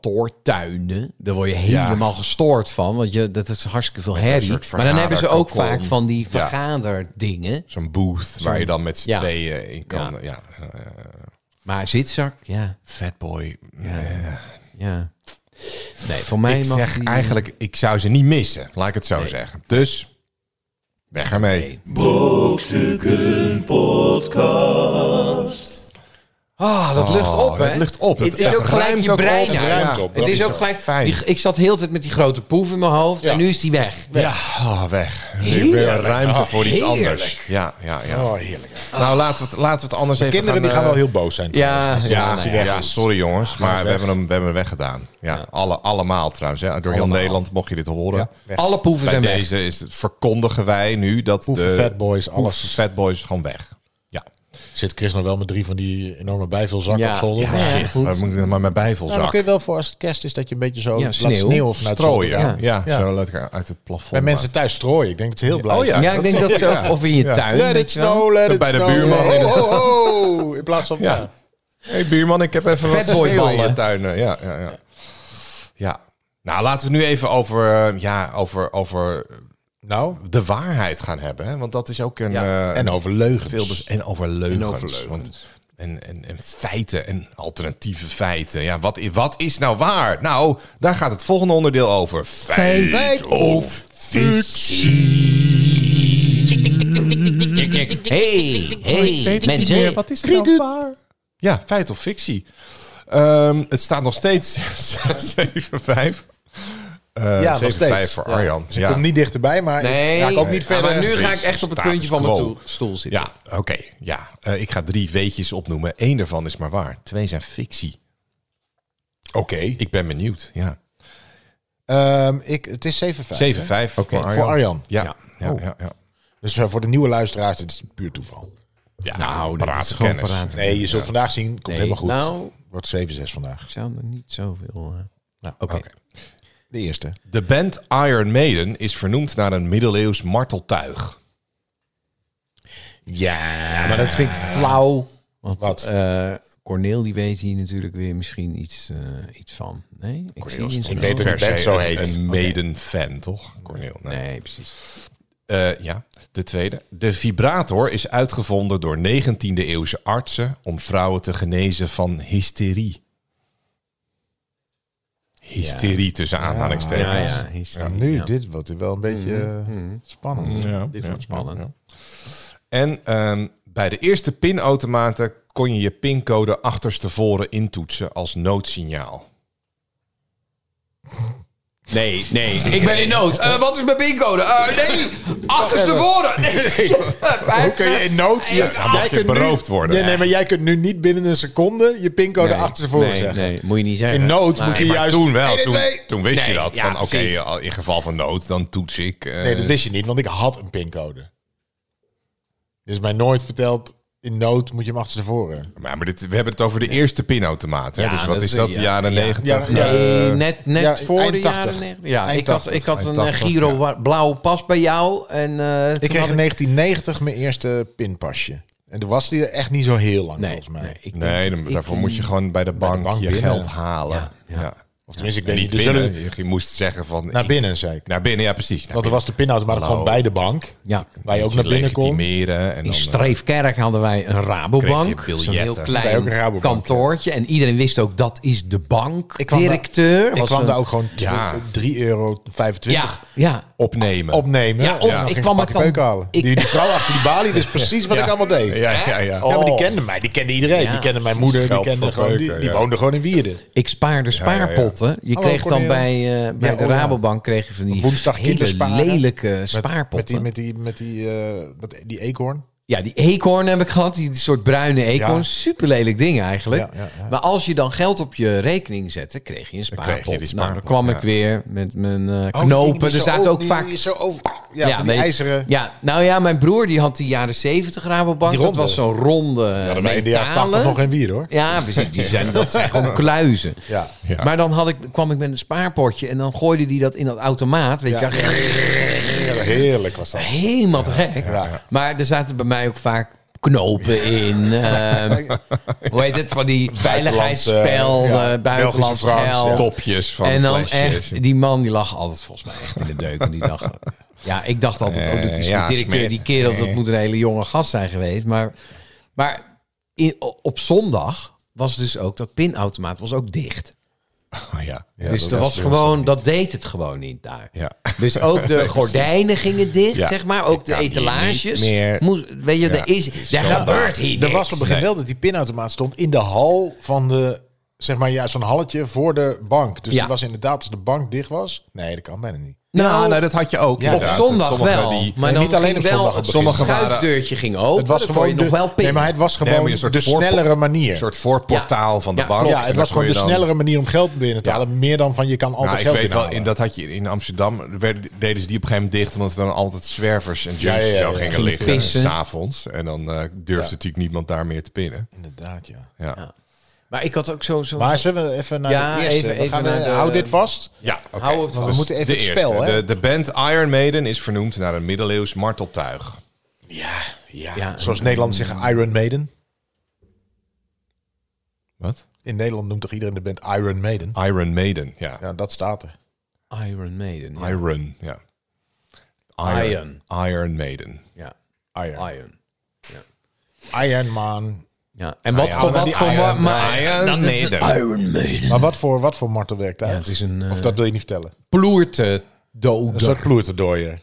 kantoortuinen. Daar word je
Ja.
helemaal gestoord van. Want je, dat is hartstikke veel
een
herrie.
soort
Maar dan hebben ze ook
vergaderkokon.
vaak van die
Ja.
vergaderdingen.
Zo'n booth waar je dan met z'n
Ja.
tweeën in kan. Ja.
Ja.
eh,
Maar zitzak, ja.
fatboy. eh,
ja. Nee, voor mij
ik
mag
zeg
die-
eigenlijk, ik zou ze niet missen. Laat ik het zo zeggen. Dus, weg ermee.
Brokstukken Podcast.
Ah, dat lucht op, hè?
het Oh, lucht op.
Het,
Het-
is
het
ook gelijk
ruimt
je
ook op,
brein
het
uit.
ruimt
Ja.
op.
Het
Dat
is
is
ook
ook
gelijk...
fijn.
die- ik zat heel de tijd met die grote poef in mijn hoofd en nu is die weg.
Ja, ah, weg. Er is weer
Heerlijk.
ruimte voor iets
Heerlijk.
anders. Ja, ja, ja.
Ah, Oh, heerlijk.
Nou, laten we het, laten we het anders even
Kinderen die
gaan...
gaan wel
eh,
heel boos zijn.
Ja,
trouwens.
ja,
ja,
nou
ja,
ja,
ja, sorry jongens, maar we
weg.
hebben hem, we hebben hem weggedaan. Ja, Alle, allemaal trouwens. Hè. Door heel Nederland mocht je dit horen.
weg.
Alle poeven
Bij
zijn weg.
deze is het, verkondigen wij nu dat
Poeven,
de
fatboys,
poeven,
alles.
fatboys gewoon weg. Ja,
Zit Chris nog wel met drie van die enorme bijvelzakken
Ja.
op zolder?
Ja,
Maar-
ja.
Ja,
Goed.
maar, moet ik dan maar mijn
maar
bijvelzak
Nou, kun je wel voor als het kerst is dat je een beetje zo
Ja,
laat
sneeuw.
sneeuw vanuit
strooien. Ja,
zolder.
ja.
Ja.
zo lekker uit het plafond.
Bij mensen thuis strooien. Ik denk dat ze heel blij
Oh ja.
zijn.
Ja, ik denk dat ze ook, of in je tuin.
Let it
weet je wel.
snow, let it
Bij de
snow. Oh,
buurman.
Ho, ho, ho. oh, In plaats van...
Ja.
Ja.
hey, buurman, ik heb even wat
Fatboy
sneeuw in je
ballen.
tuin. eh, Ja, ja, ja. ja. Nou, laten we nu even over, eh, ja, over, over
Nou,
de waarheid gaan hebben. Hè? Want dat is ook een...
Ja.
eh,
en over leugens.
Veel bes- en over leugens.
En over leugens.
Want- en, en, en feiten en alternatieve feiten. Ja, wat, i- wat is nou waar? Nou, daar gaat het volgende onderdeel over. Feit,
Feit
of fictie.
Hey, hey, mensen.
wat is nou waar? Ja, feit of fictie. Ehm, het staat nog steeds 7-5. Eh,
Ja, nog
7-5
steeds.
voor
Ja.
Arjan.
Ze komt niet dichterbij, maar
Nee,
ik raak ook niet verder.
maar nu ga ik
Precies,
echt op het
status
puntje van mijn
quo.
toe- stoel zitten.
Ja, oké. ja. Eh, ik ga drie weetjes opnoemen. Eén daarvan is maar waar. Twee zijn fictie.
Oké.
Ik ben benieuwd, ja.
Ehm, ik, het is 7,5.
7-5
hè?
voor Arjan.
Voor Arjan.
Ja,
Ja.
ja, ja. ja,
Dus eh, voor de nieuwe luisteraars, het is puur toeval.
Ja,
Nou, dat
paraat
is gewoon
kennis.
paraat.
Nee, je zult vandaag zien, komt
Nee,
helemaal goed.
nou-
Wordt 7-6 vandaag.
Ik zou er niet zoveel... eh
Nou,
Oké.
Oké.
De eerste.
De band Iron Maiden is vernoemd naar een middeleeuws marteltuig.
Ja.
Maar dat vind ik flauw. Want
Wat?
eh, Corneel die weet hier natuurlijk weer misschien iets, eh, iets van. Nee, ik zie niet
Ik weet dat
het.
de
Per se
band zo
een-
heet.
Een Maiden-fan, toch? Corneel. Nee.
Nee, precies.
Eh, ja, de tweede. De vibrator is uitgevonden door 19e-eeuwse artsen om vrouwen te genezen van hysterie. Hysterie tussen
Ja,
aanhalingstekens.
ja, hysterie,
nu,
ja.
dit wordt wel een beetje eh, spannend.
Ja,
Dit
ja,
wordt spannend.
ja, ja. En ehm, bij de eerste pinautomaten kon je je pincode achterstevoren intoetsen als noodsignaal.
Nee, nee. Ik ben in nood. Eh, wat is mijn pincode? Eh, nee, achterstevoren. Nee. Hoe
kun je in nood? Ja,
dan mag je beroofd worden.
Nee, nee, maar jij kunt nu niet binnen een seconde je pincode achter tevoren
nee,
zeggen.
Nee, moet je niet zeggen.
In nood moet je
Maar
juist...
toen wel,
1 en
toen,
2.
toen wist je
Nee,
dat.
ja,
van oké,
precies.
al- in geval van nood, dan toets ik. eh,
Nee, dat wist je niet, want ik had een pincode. Dus mij nooit verteld, in nood moet je hem achter tevoren.
maar maar dit, we hebben het over de eerste pinautomaat. Hè?
Ja,
dus wat
dat
is
is-
dat, de
ja,
jaren
ja.
negentig?
Ja,
Nee,
eh,
net net
ja,
voor de
eind
jaren
80.
90. Ja,
Eind
ik had,
80,
ik had een
eind
eh,
80,
Giro
ja.
wa- blauwe pas bij jou. En, eh, toen
Ik kreeg
had
in 1990 mijn eerste pinpasje. En toen was die er echt niet zo heel lang,
Nee,
volgens mij.
nee, ik denk-
nee, dan- daarvoor moet je gewoon bij de
de
bank,
bank
je
binnen.
geld halen.
Ja,
Ja,
ja.
Of tenminste, ik
En
weet
niet
niet. Er zullen-
binnen. Je- Je moest zeggen van...
dus naar
ik-
binnen, zei ik.
Naar binnen, ja precies. Nou, Naar
Want er was de pinautomaat
Hallo.
gewoon bij de bank.
ja.
Waar je ook naar
binnen.
binnen kon.
legitimeren. En
In
dan, eh,
Streefkerk hadden wij een Rabobank.
Kreeg je
Zo'n heel
biljetten.
Wij ook een
klein
Rabobank,
kantoortje. En iedereen wist ook, dat is de bank.
Ik kwam daar-
Directeur.
Ik
was
kwam
een-
daar ook gewoon
Ja.
3,25 euro
Ja, ja.
opnemen.
opnemen.
Ja, of ik
ging
kwam
een pakje
het dan-
peuk halen.
ik-
Die, die vrouw achter die balie, dat is precies wat ik allemaal deed.
Ja, ja, ja.
Ja, maar die
Oh.
kende mij. Die kende iedereen.
Ja.
Die kende mijn moeder. Die,
Geld
kende
voor
gewoon, die,
peuken,
die
ja.
woonde gewoon in Wierden.
Ik spaarde spaarpotten. Je
Hallo,
kreeg dan
Cornel.
bij, eh, bij
Ja,
de
oh ja.
Rabobank kreeg je van die
Woensdag
hele
kindersparen.
lelijke
Met-
spaarpotten.
Met die, met die, met die, eh, dat, die eekhoorn.
Ja, die eekhoorn heb ik gehad. Die soort bruine eekhoorn.
Ja.
Super lelijk ding eigenlijk.
Ja, ja, ja.
Maar als je dan geld op je rekening zette, kreeg je een
kreeg je
spaarpot.
die
nou, dan
spaarpot,
kwam
ja.
ik weer met mijn eh,
Oh, die
knopen.
dingen die
er
zo
zaten ook
die-
vaak...
die zo over, ja, van die
weet je-
ijzeren.
Ja, nou ja, mijn broer die had die jaren 70 Rabobank.
Die
Dat
ronde.
was zo'n ronde
Ja,
ja,
dan ben je in de jaren 80 nog in Wierden hoor.
Ja, precies. Die zijn, dat zijn gewoon kluizen.
Ja.
Ja.
Maar dan had ik, kwam ik met een spaarpotje en dan gooide die dat in dat automaat. Weet je, wel.
Heerlijk, heerlijk was dat.
helemaal te gek.
Ja.
Maar er zaten bij mij ook vaak knopen in. ehm, hoe heet het? Van die veiligheidsspel,
ja,
eh, buitenlands
Belgische francs,
geld.
ja.
Topjes van
en dan
flesjes.
echt, die man die lag altijd volgens mij echt in de deuk. En die dacht, ja, ik dacht altijd, oh, dat
Eh,
is de
ja,
directeur,
smeer.
die kerel, dat
Eh.
moet een hele jonge gast zijn geweest. Maar, maar in, op zondag was dus ook dat pinautomaat was ook dicht.
Oh, ja. Ja,
dus
dat
dat was gewoon, dat deed het gewoon niet daar.
Ja.
Dus ook de gordijnen gingen dicht,
Ja.
zeg maar. Ook
Ik
de
kan hier
etalages.
niet meer.
Moest, weet je, er, is, er gebeurt hier
Er was op
niks.
een gegeven moment wel dat die pinautomaat stond in de hal van de, zeg maar, ja, zo'n halletje voor de bank. Dus
Ja.
die was inderdaad, als de bank dicht was, nee, dat kan bijna niet.
Nou,
Nou,
nee, dat had je ook.
Ja,
op
inderdaad.
zondag
Sommige
wel.
die-
maar
Nee,
dan
niet alleen
ging
op
wel
zondag op
Het
begin.
Sommige waren-
schuifdeurtje ging open.
Het was gewoon
je
de,
nog wel pin.
nee, maar het was
Nee,
gewoon
maar een soort
de
voorpot-
snellere manier.
Een soort voorportaal van de
Ja,
bank.
klopt.
ja, het was gewoon de snellere manier om geld binnen te halen. Meer dan van je kan altijd
Nou, ik
geld
weet wel, in,
binnenhalen.
dat had je in Amsterdam, werden, deden ze die op een gegeven moment dicht, omdat er dan altijd zwervers en junkies
ja, ja,
zo
ja.
gingen
Gingen
liggen,
pissen.
s'avonds. En dan eh, durfde natuurlijk niemand daar meer te pinnen.
Inderdaad, ja.
Ja,
Ja. Maar ik had ook zo... zo
Maar zullen we even naar
Ja,
de eerste?
even-
we gaan
even
eh,
naar de-
Hou dit vast.
ja oké.
Hou het vast.
We moeten even
de
het spel,
eerste.
hè?
De, de band Iron Maiden is vernoemd naar een middeleeuws marteltuig.
Ja, ja.
Ja.
Zoals Nederlanders zeggen Iron Maiden.
Wat?
In Nederland noemt toch iedereen de band Iron Maiden?
Iron Maiden, ja.
Ja, dat staat er.
Iron Maiden. Ja.
Iron, ja.
Iron.
Iron Maiden.
Ja.
Iron.
Iron.
Iron Man.
Ja. En wat
Nou ja,
voor...
maar
Wat
die
voor
Iron-
maar- maar-
Iron
dan is het
Maiden.
Iron Maiden.
Maar wat voor, wat voor martelwerktuig?
Ja, het is een
Of
eh
dat wil je niet vertellen?
ploerte
Een
doden.
soort ploerterdooier.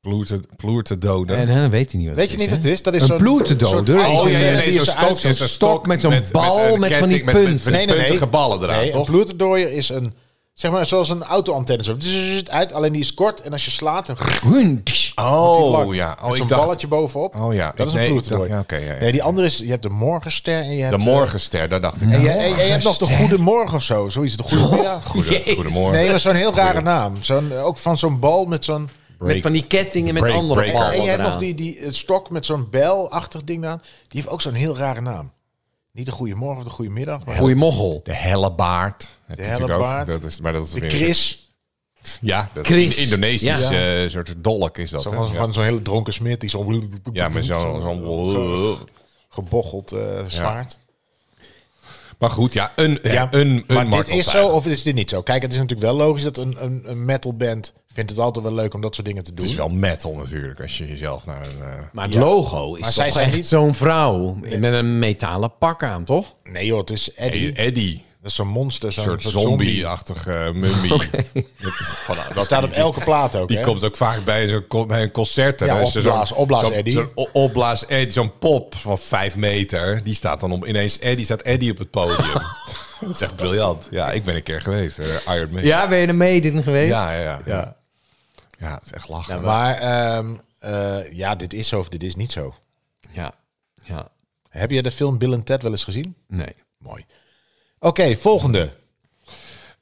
Ploerte, ploerte doden.
En dan weet hij niet wat
Weet
het
je niet
is,
wat
hè?
het is? Dat is
Een
zo'n-
ploertedoder.
zo'n
Oh,
ijzeren
Oh ja, ja,
ding
nee,
die
zo'n
is
stok,
eruit-
zo'n stok,
met zo'n
met-
bal,
een
met van die
ketting,
punten.
Met, met,
Nee, nee, nee.
puntige ballen eraan,
Nee, een
toch?
ploerterdooier is een Zeg maar zoals een auto-antenne. Zo. Dus het uit, alleen die is kort. En als je slaat, dan met die lang.
Oh ja, oh,
met
ik
zo'n
dacht
balletje bovenop.
Oh ja,
dat
ik-
is een
nee, ik
bloedrooi.
dacht- ja, oké, ja, ja,
nee, die andere is, je hebt de morgenster en je hebt...
de
eh,
morgenster, daar dacht ik.
en
aan.
je, en je hebt nog de goedemorgen of zo. Zoiets, de goedemiddag.
Goede- Goedemorgen.
Nee, maar zo'n heel rare naam. Zo'n, eh, ook van zo'n bal met zo'n...
Met van die kettingen met
Break,
andere
break.
ballen.
en je hebt
eraan.
nog die, die het stok met zo'n belachtig ding aan. Die heeft ook zo'n heel rare naam. Niet de goedemorgen of de goedemiddag. Maar
Goeie mochel.
De hellebaard. Heb je natuurlijk ook.
hellebaard.
Dat is, maar dat is
de
weer-
Chris.
Ja, dat
Chris.
is een Indonesisch
Ja.
eh, soort dolk is dat.
Zo
hè?
van,
ja.
van zo'n hele dronken smid. Die zo
ja, met zo'n... Oh. Zo
gebocheld eh, zwaard.
maar goed, ja, een, ja,
Ja,
een, een
maar dit
marteltuig.
is zo of is dit niet zo? Kijk, het is natuurlijk wel logisch dat een, een, een metalband... vindt het altijd wel leuk om dat soort dingen te
Het is
doen.
wel metal natuurlijk, als je jezelf naar een... eh,
Maar het logo is
Maar
toch
zij zijn
echt
niet-
zo'n vrouw met een metalen pak aan, toch?
Nee joh, het is Eddie.
Eddie,
Dat is zo'n monster, zo'n
een soort
soort zombie. nou,
zombie-achtige eh, mummie. Dat is van-
Dat staat op elke plaat ook,
Die
hè?
komt ook vaak bij, zo'n co- bij een concert. en
Ja,
dan is er zo'n-
opblaas- opblaas
zo'n-
Eddie.
Zo'n o- opblaas Eddie, zo'n pop van vijf meter. Die staat dan op, ineens Eddie, staat Eddie op het podium. dat is echt briljant. Ja, ik ben een keer geweest. eh, Iron Man.
Ja, ben je er mee geweest?
Ja, ja, ja. Ja, Ja, het is echt lachen.
Maar ehm, eh, ja, dit is zo of dit is niet zo.
Ja. ja.
Heb je de film Bill en Ted wel eens gezien?
Nee.
Mooi. Oké, volgende.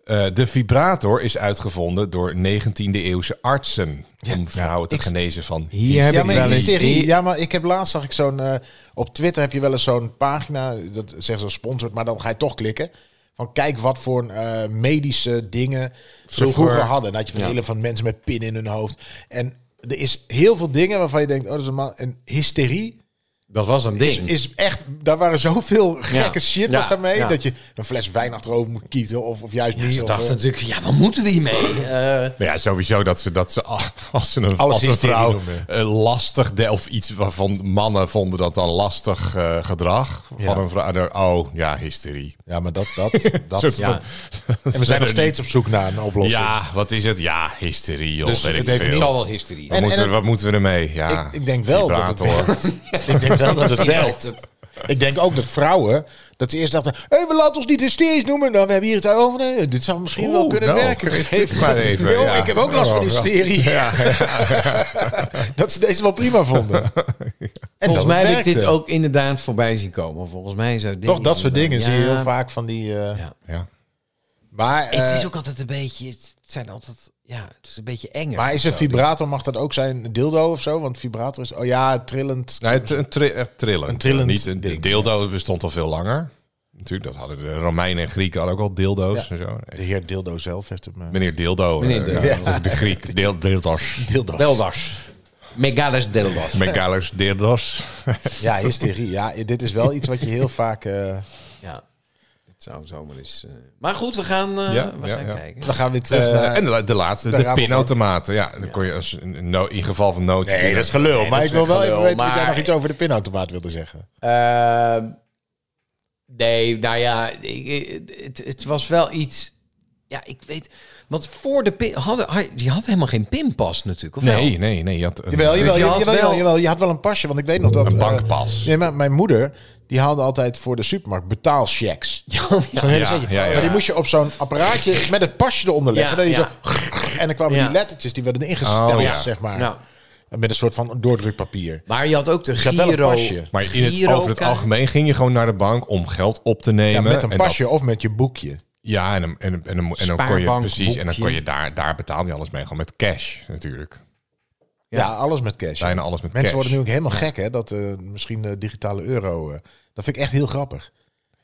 Eh, de vibrator is uitgevonden door 19e-eeuwse artsen. om vrouwen te
ik-
genezen van
Hier heb
Ja
ik
maar,
wel eens...
hysterie.
die-
ja, maar ik heb laatst zag ik zo'n... eh, op Twitter heb je wel eens zo'n pagina, dat zeggen ze sponsored, maar dan ga je toch klikken. Van kijk wat voor eh, medische dingen ze vroeger hadden. Dat je van
Ja.
hele van mensen met pinnen in hun hoofd. En er is heel veel dingen waarvan je denkt, oh, dat is een man. En hysterie
Dat was een ding.
is, is echt, daar waren zoveel gekke shit
Ja.
was daarmee,
Ja.
dat je een fles wijn achterover moet kiezen of, of juist niet.
Ze
of,
dachten
eh,
natuurlijk, ja, wat moeten we hiermee? Eh
Maar ja, sowieso dat ze, dat ze ah, als ze een, als een
hysterie
vrouw
noemen.
eh, lastig de, of iets waarvan mannen vonden dat dan lastig eh, gedrag
Ja.
van een vrouw. dan- Oh ja, hysterie.
ja, maar dat, dat, dat.
Soort
ja.
van-
En we zijn nog steeds op zoek naar een oplossing.
Ja, wat is het? Ja, hysterie. Joh,
Dus
weet
het
ik
heeft
veel.
niet-
zal
Wat,
wel hysterie.
En-
moeten
en
we- wat moeten we ermee? Ja,
Ik- ik denk wel dat het
Ah, vibrator.
Ik denk wel dat het werkt. Ik denk ook dat vrouwen, dat ze eerst dachten, hé, hey, we laten ons niet hysterisch noemen. Nou, we hebben hier het over. Nee, dit zou misschien wel
Oeh,
kunnen
nou,
werken.
geef maar even,
Yo,
ja.
Ik heb ook last van
Oh, ja.
hysterie. dat ze deze wel prima vonden. En dat
Volgens
het
mij heb ik dit
werkte.
ook inderdaad voorbij zien komen. Volgens mij zou dit...
Toch dat soort dingen
Ja.
zie je heel vaak van die... eh,
Ja.
Ja.
Maar,
het
eh,
is ook altijd een beetje... Het zijn altijd... Ja, het is een beetje enger.
Maar is een vibrator, mag dat ook zijn een dildo of zo? Want vibrator is, oh ja, trillend.
Nee, Nou, het- een, tri- echt trillen.
Een trillend
Niet een
ding,
de dildo bestond al veel langer. Natuurlijk, dat hadden de Romeinen en Grieken hadden ook al dildo's en zo.
De heer dildo zelf heeft hem... eh,
Meneer Dildo. eh,
Meneer Dildo.
ja, dat is de Griek. Deel, deeldos.
Dildo's.
Deldas. Megalis Deldas.
Megalos, deeldos.
Ja, hysterie. Ja, dit is wel iets wat je heel vaak... eh,
Ja. Het zou zomaar eens... eh, Maar goed, we gaan, eh,
Ja,
we
ja,
gaan
ja.
kijken.
dan gaan we weer terug
Eh,
naar...
en de, la- de laatste, de
Rabobank.
pinautomaten. Ja, dan kon je als, in, no- in geval van nood...
Nee, dat is gelul.
Nee,
maar
dat
ik wil
is
wel
gelul,
even weten of jij
maar-
nog iets over de pinautomaat wilde zeggen.
Ehm, nee, nou ja, ik- ik- het, het was wel iets. Ja, ik weet. Want voor de pin. Hadden, had- die had helemaal geen pinpas natuurlijk. Of wel?
Nee, nee, nee. Je had een,
Jawel, jawel,
je
jawel,
had
jawel,
wel-
jawel. Je had wel een pasje, want ik weet nog dat...
een
eh,
bankpas.
nee, maar mijn moeder, die haalde altijd voor de supermarkt betaalchecks.
Ja, ja.
Zo'n hele
Ja,
zetje.
ja, ja.
Maar die moest je op zo'n apparaatje met het pasje eronder leggen.
Ja,
dat je
ja.
zo- en dan kwamen
Ja.
die lettertjes, die werden ingesteld,
Oh, ja.
zeg maar.
Nou,
Met een soort van doordrukpapier.
maar je had ook de
had wel een
Giro.
pasje.
maar in het,
Girokaart.
over het algemeen ging je gewoon naar de bank om geld op te nemen.
Ja, met een
en dat-
pasje of met je boekje.
ja, en, dan- en, dan- en, dan- en dan kon je
Spaarbank,
precies... En dan
boekje.
kon je daar, daar betaalde je alles mee. Gewoon met cash natuurlijk.
Ja, alles met cash.
Bijna alles met
Mensen
cash.
worden nu ook helemaal gek, hè? Dat eh, misschien de digitale euro. eh, dat vind ik echt heel grappig.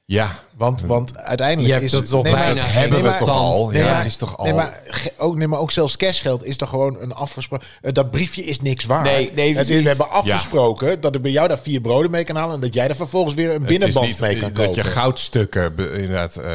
Ja.
Want, want uiteindelijk
Je hebt
is
dat toch
maar-
bijna
Dat
Nee,
hebben we
maar-
toch al.
nee,
ja,
maar-
het is toch al...
Nee, maar, ge- ook, nee, maar ook zelfs cashgeld is toch gewoon een afgesproken... eh, dat briefje is niks waard.
Nee, nee,
Het is-
precies.
we hebben afgesproken dat ik bij jou daar vier broden mee kan halen... en dat jij daar vervolgens weer een
het is
binnenband
niet
mee kan
dat je
kopen.
goudstukken be- inderdaad... eh,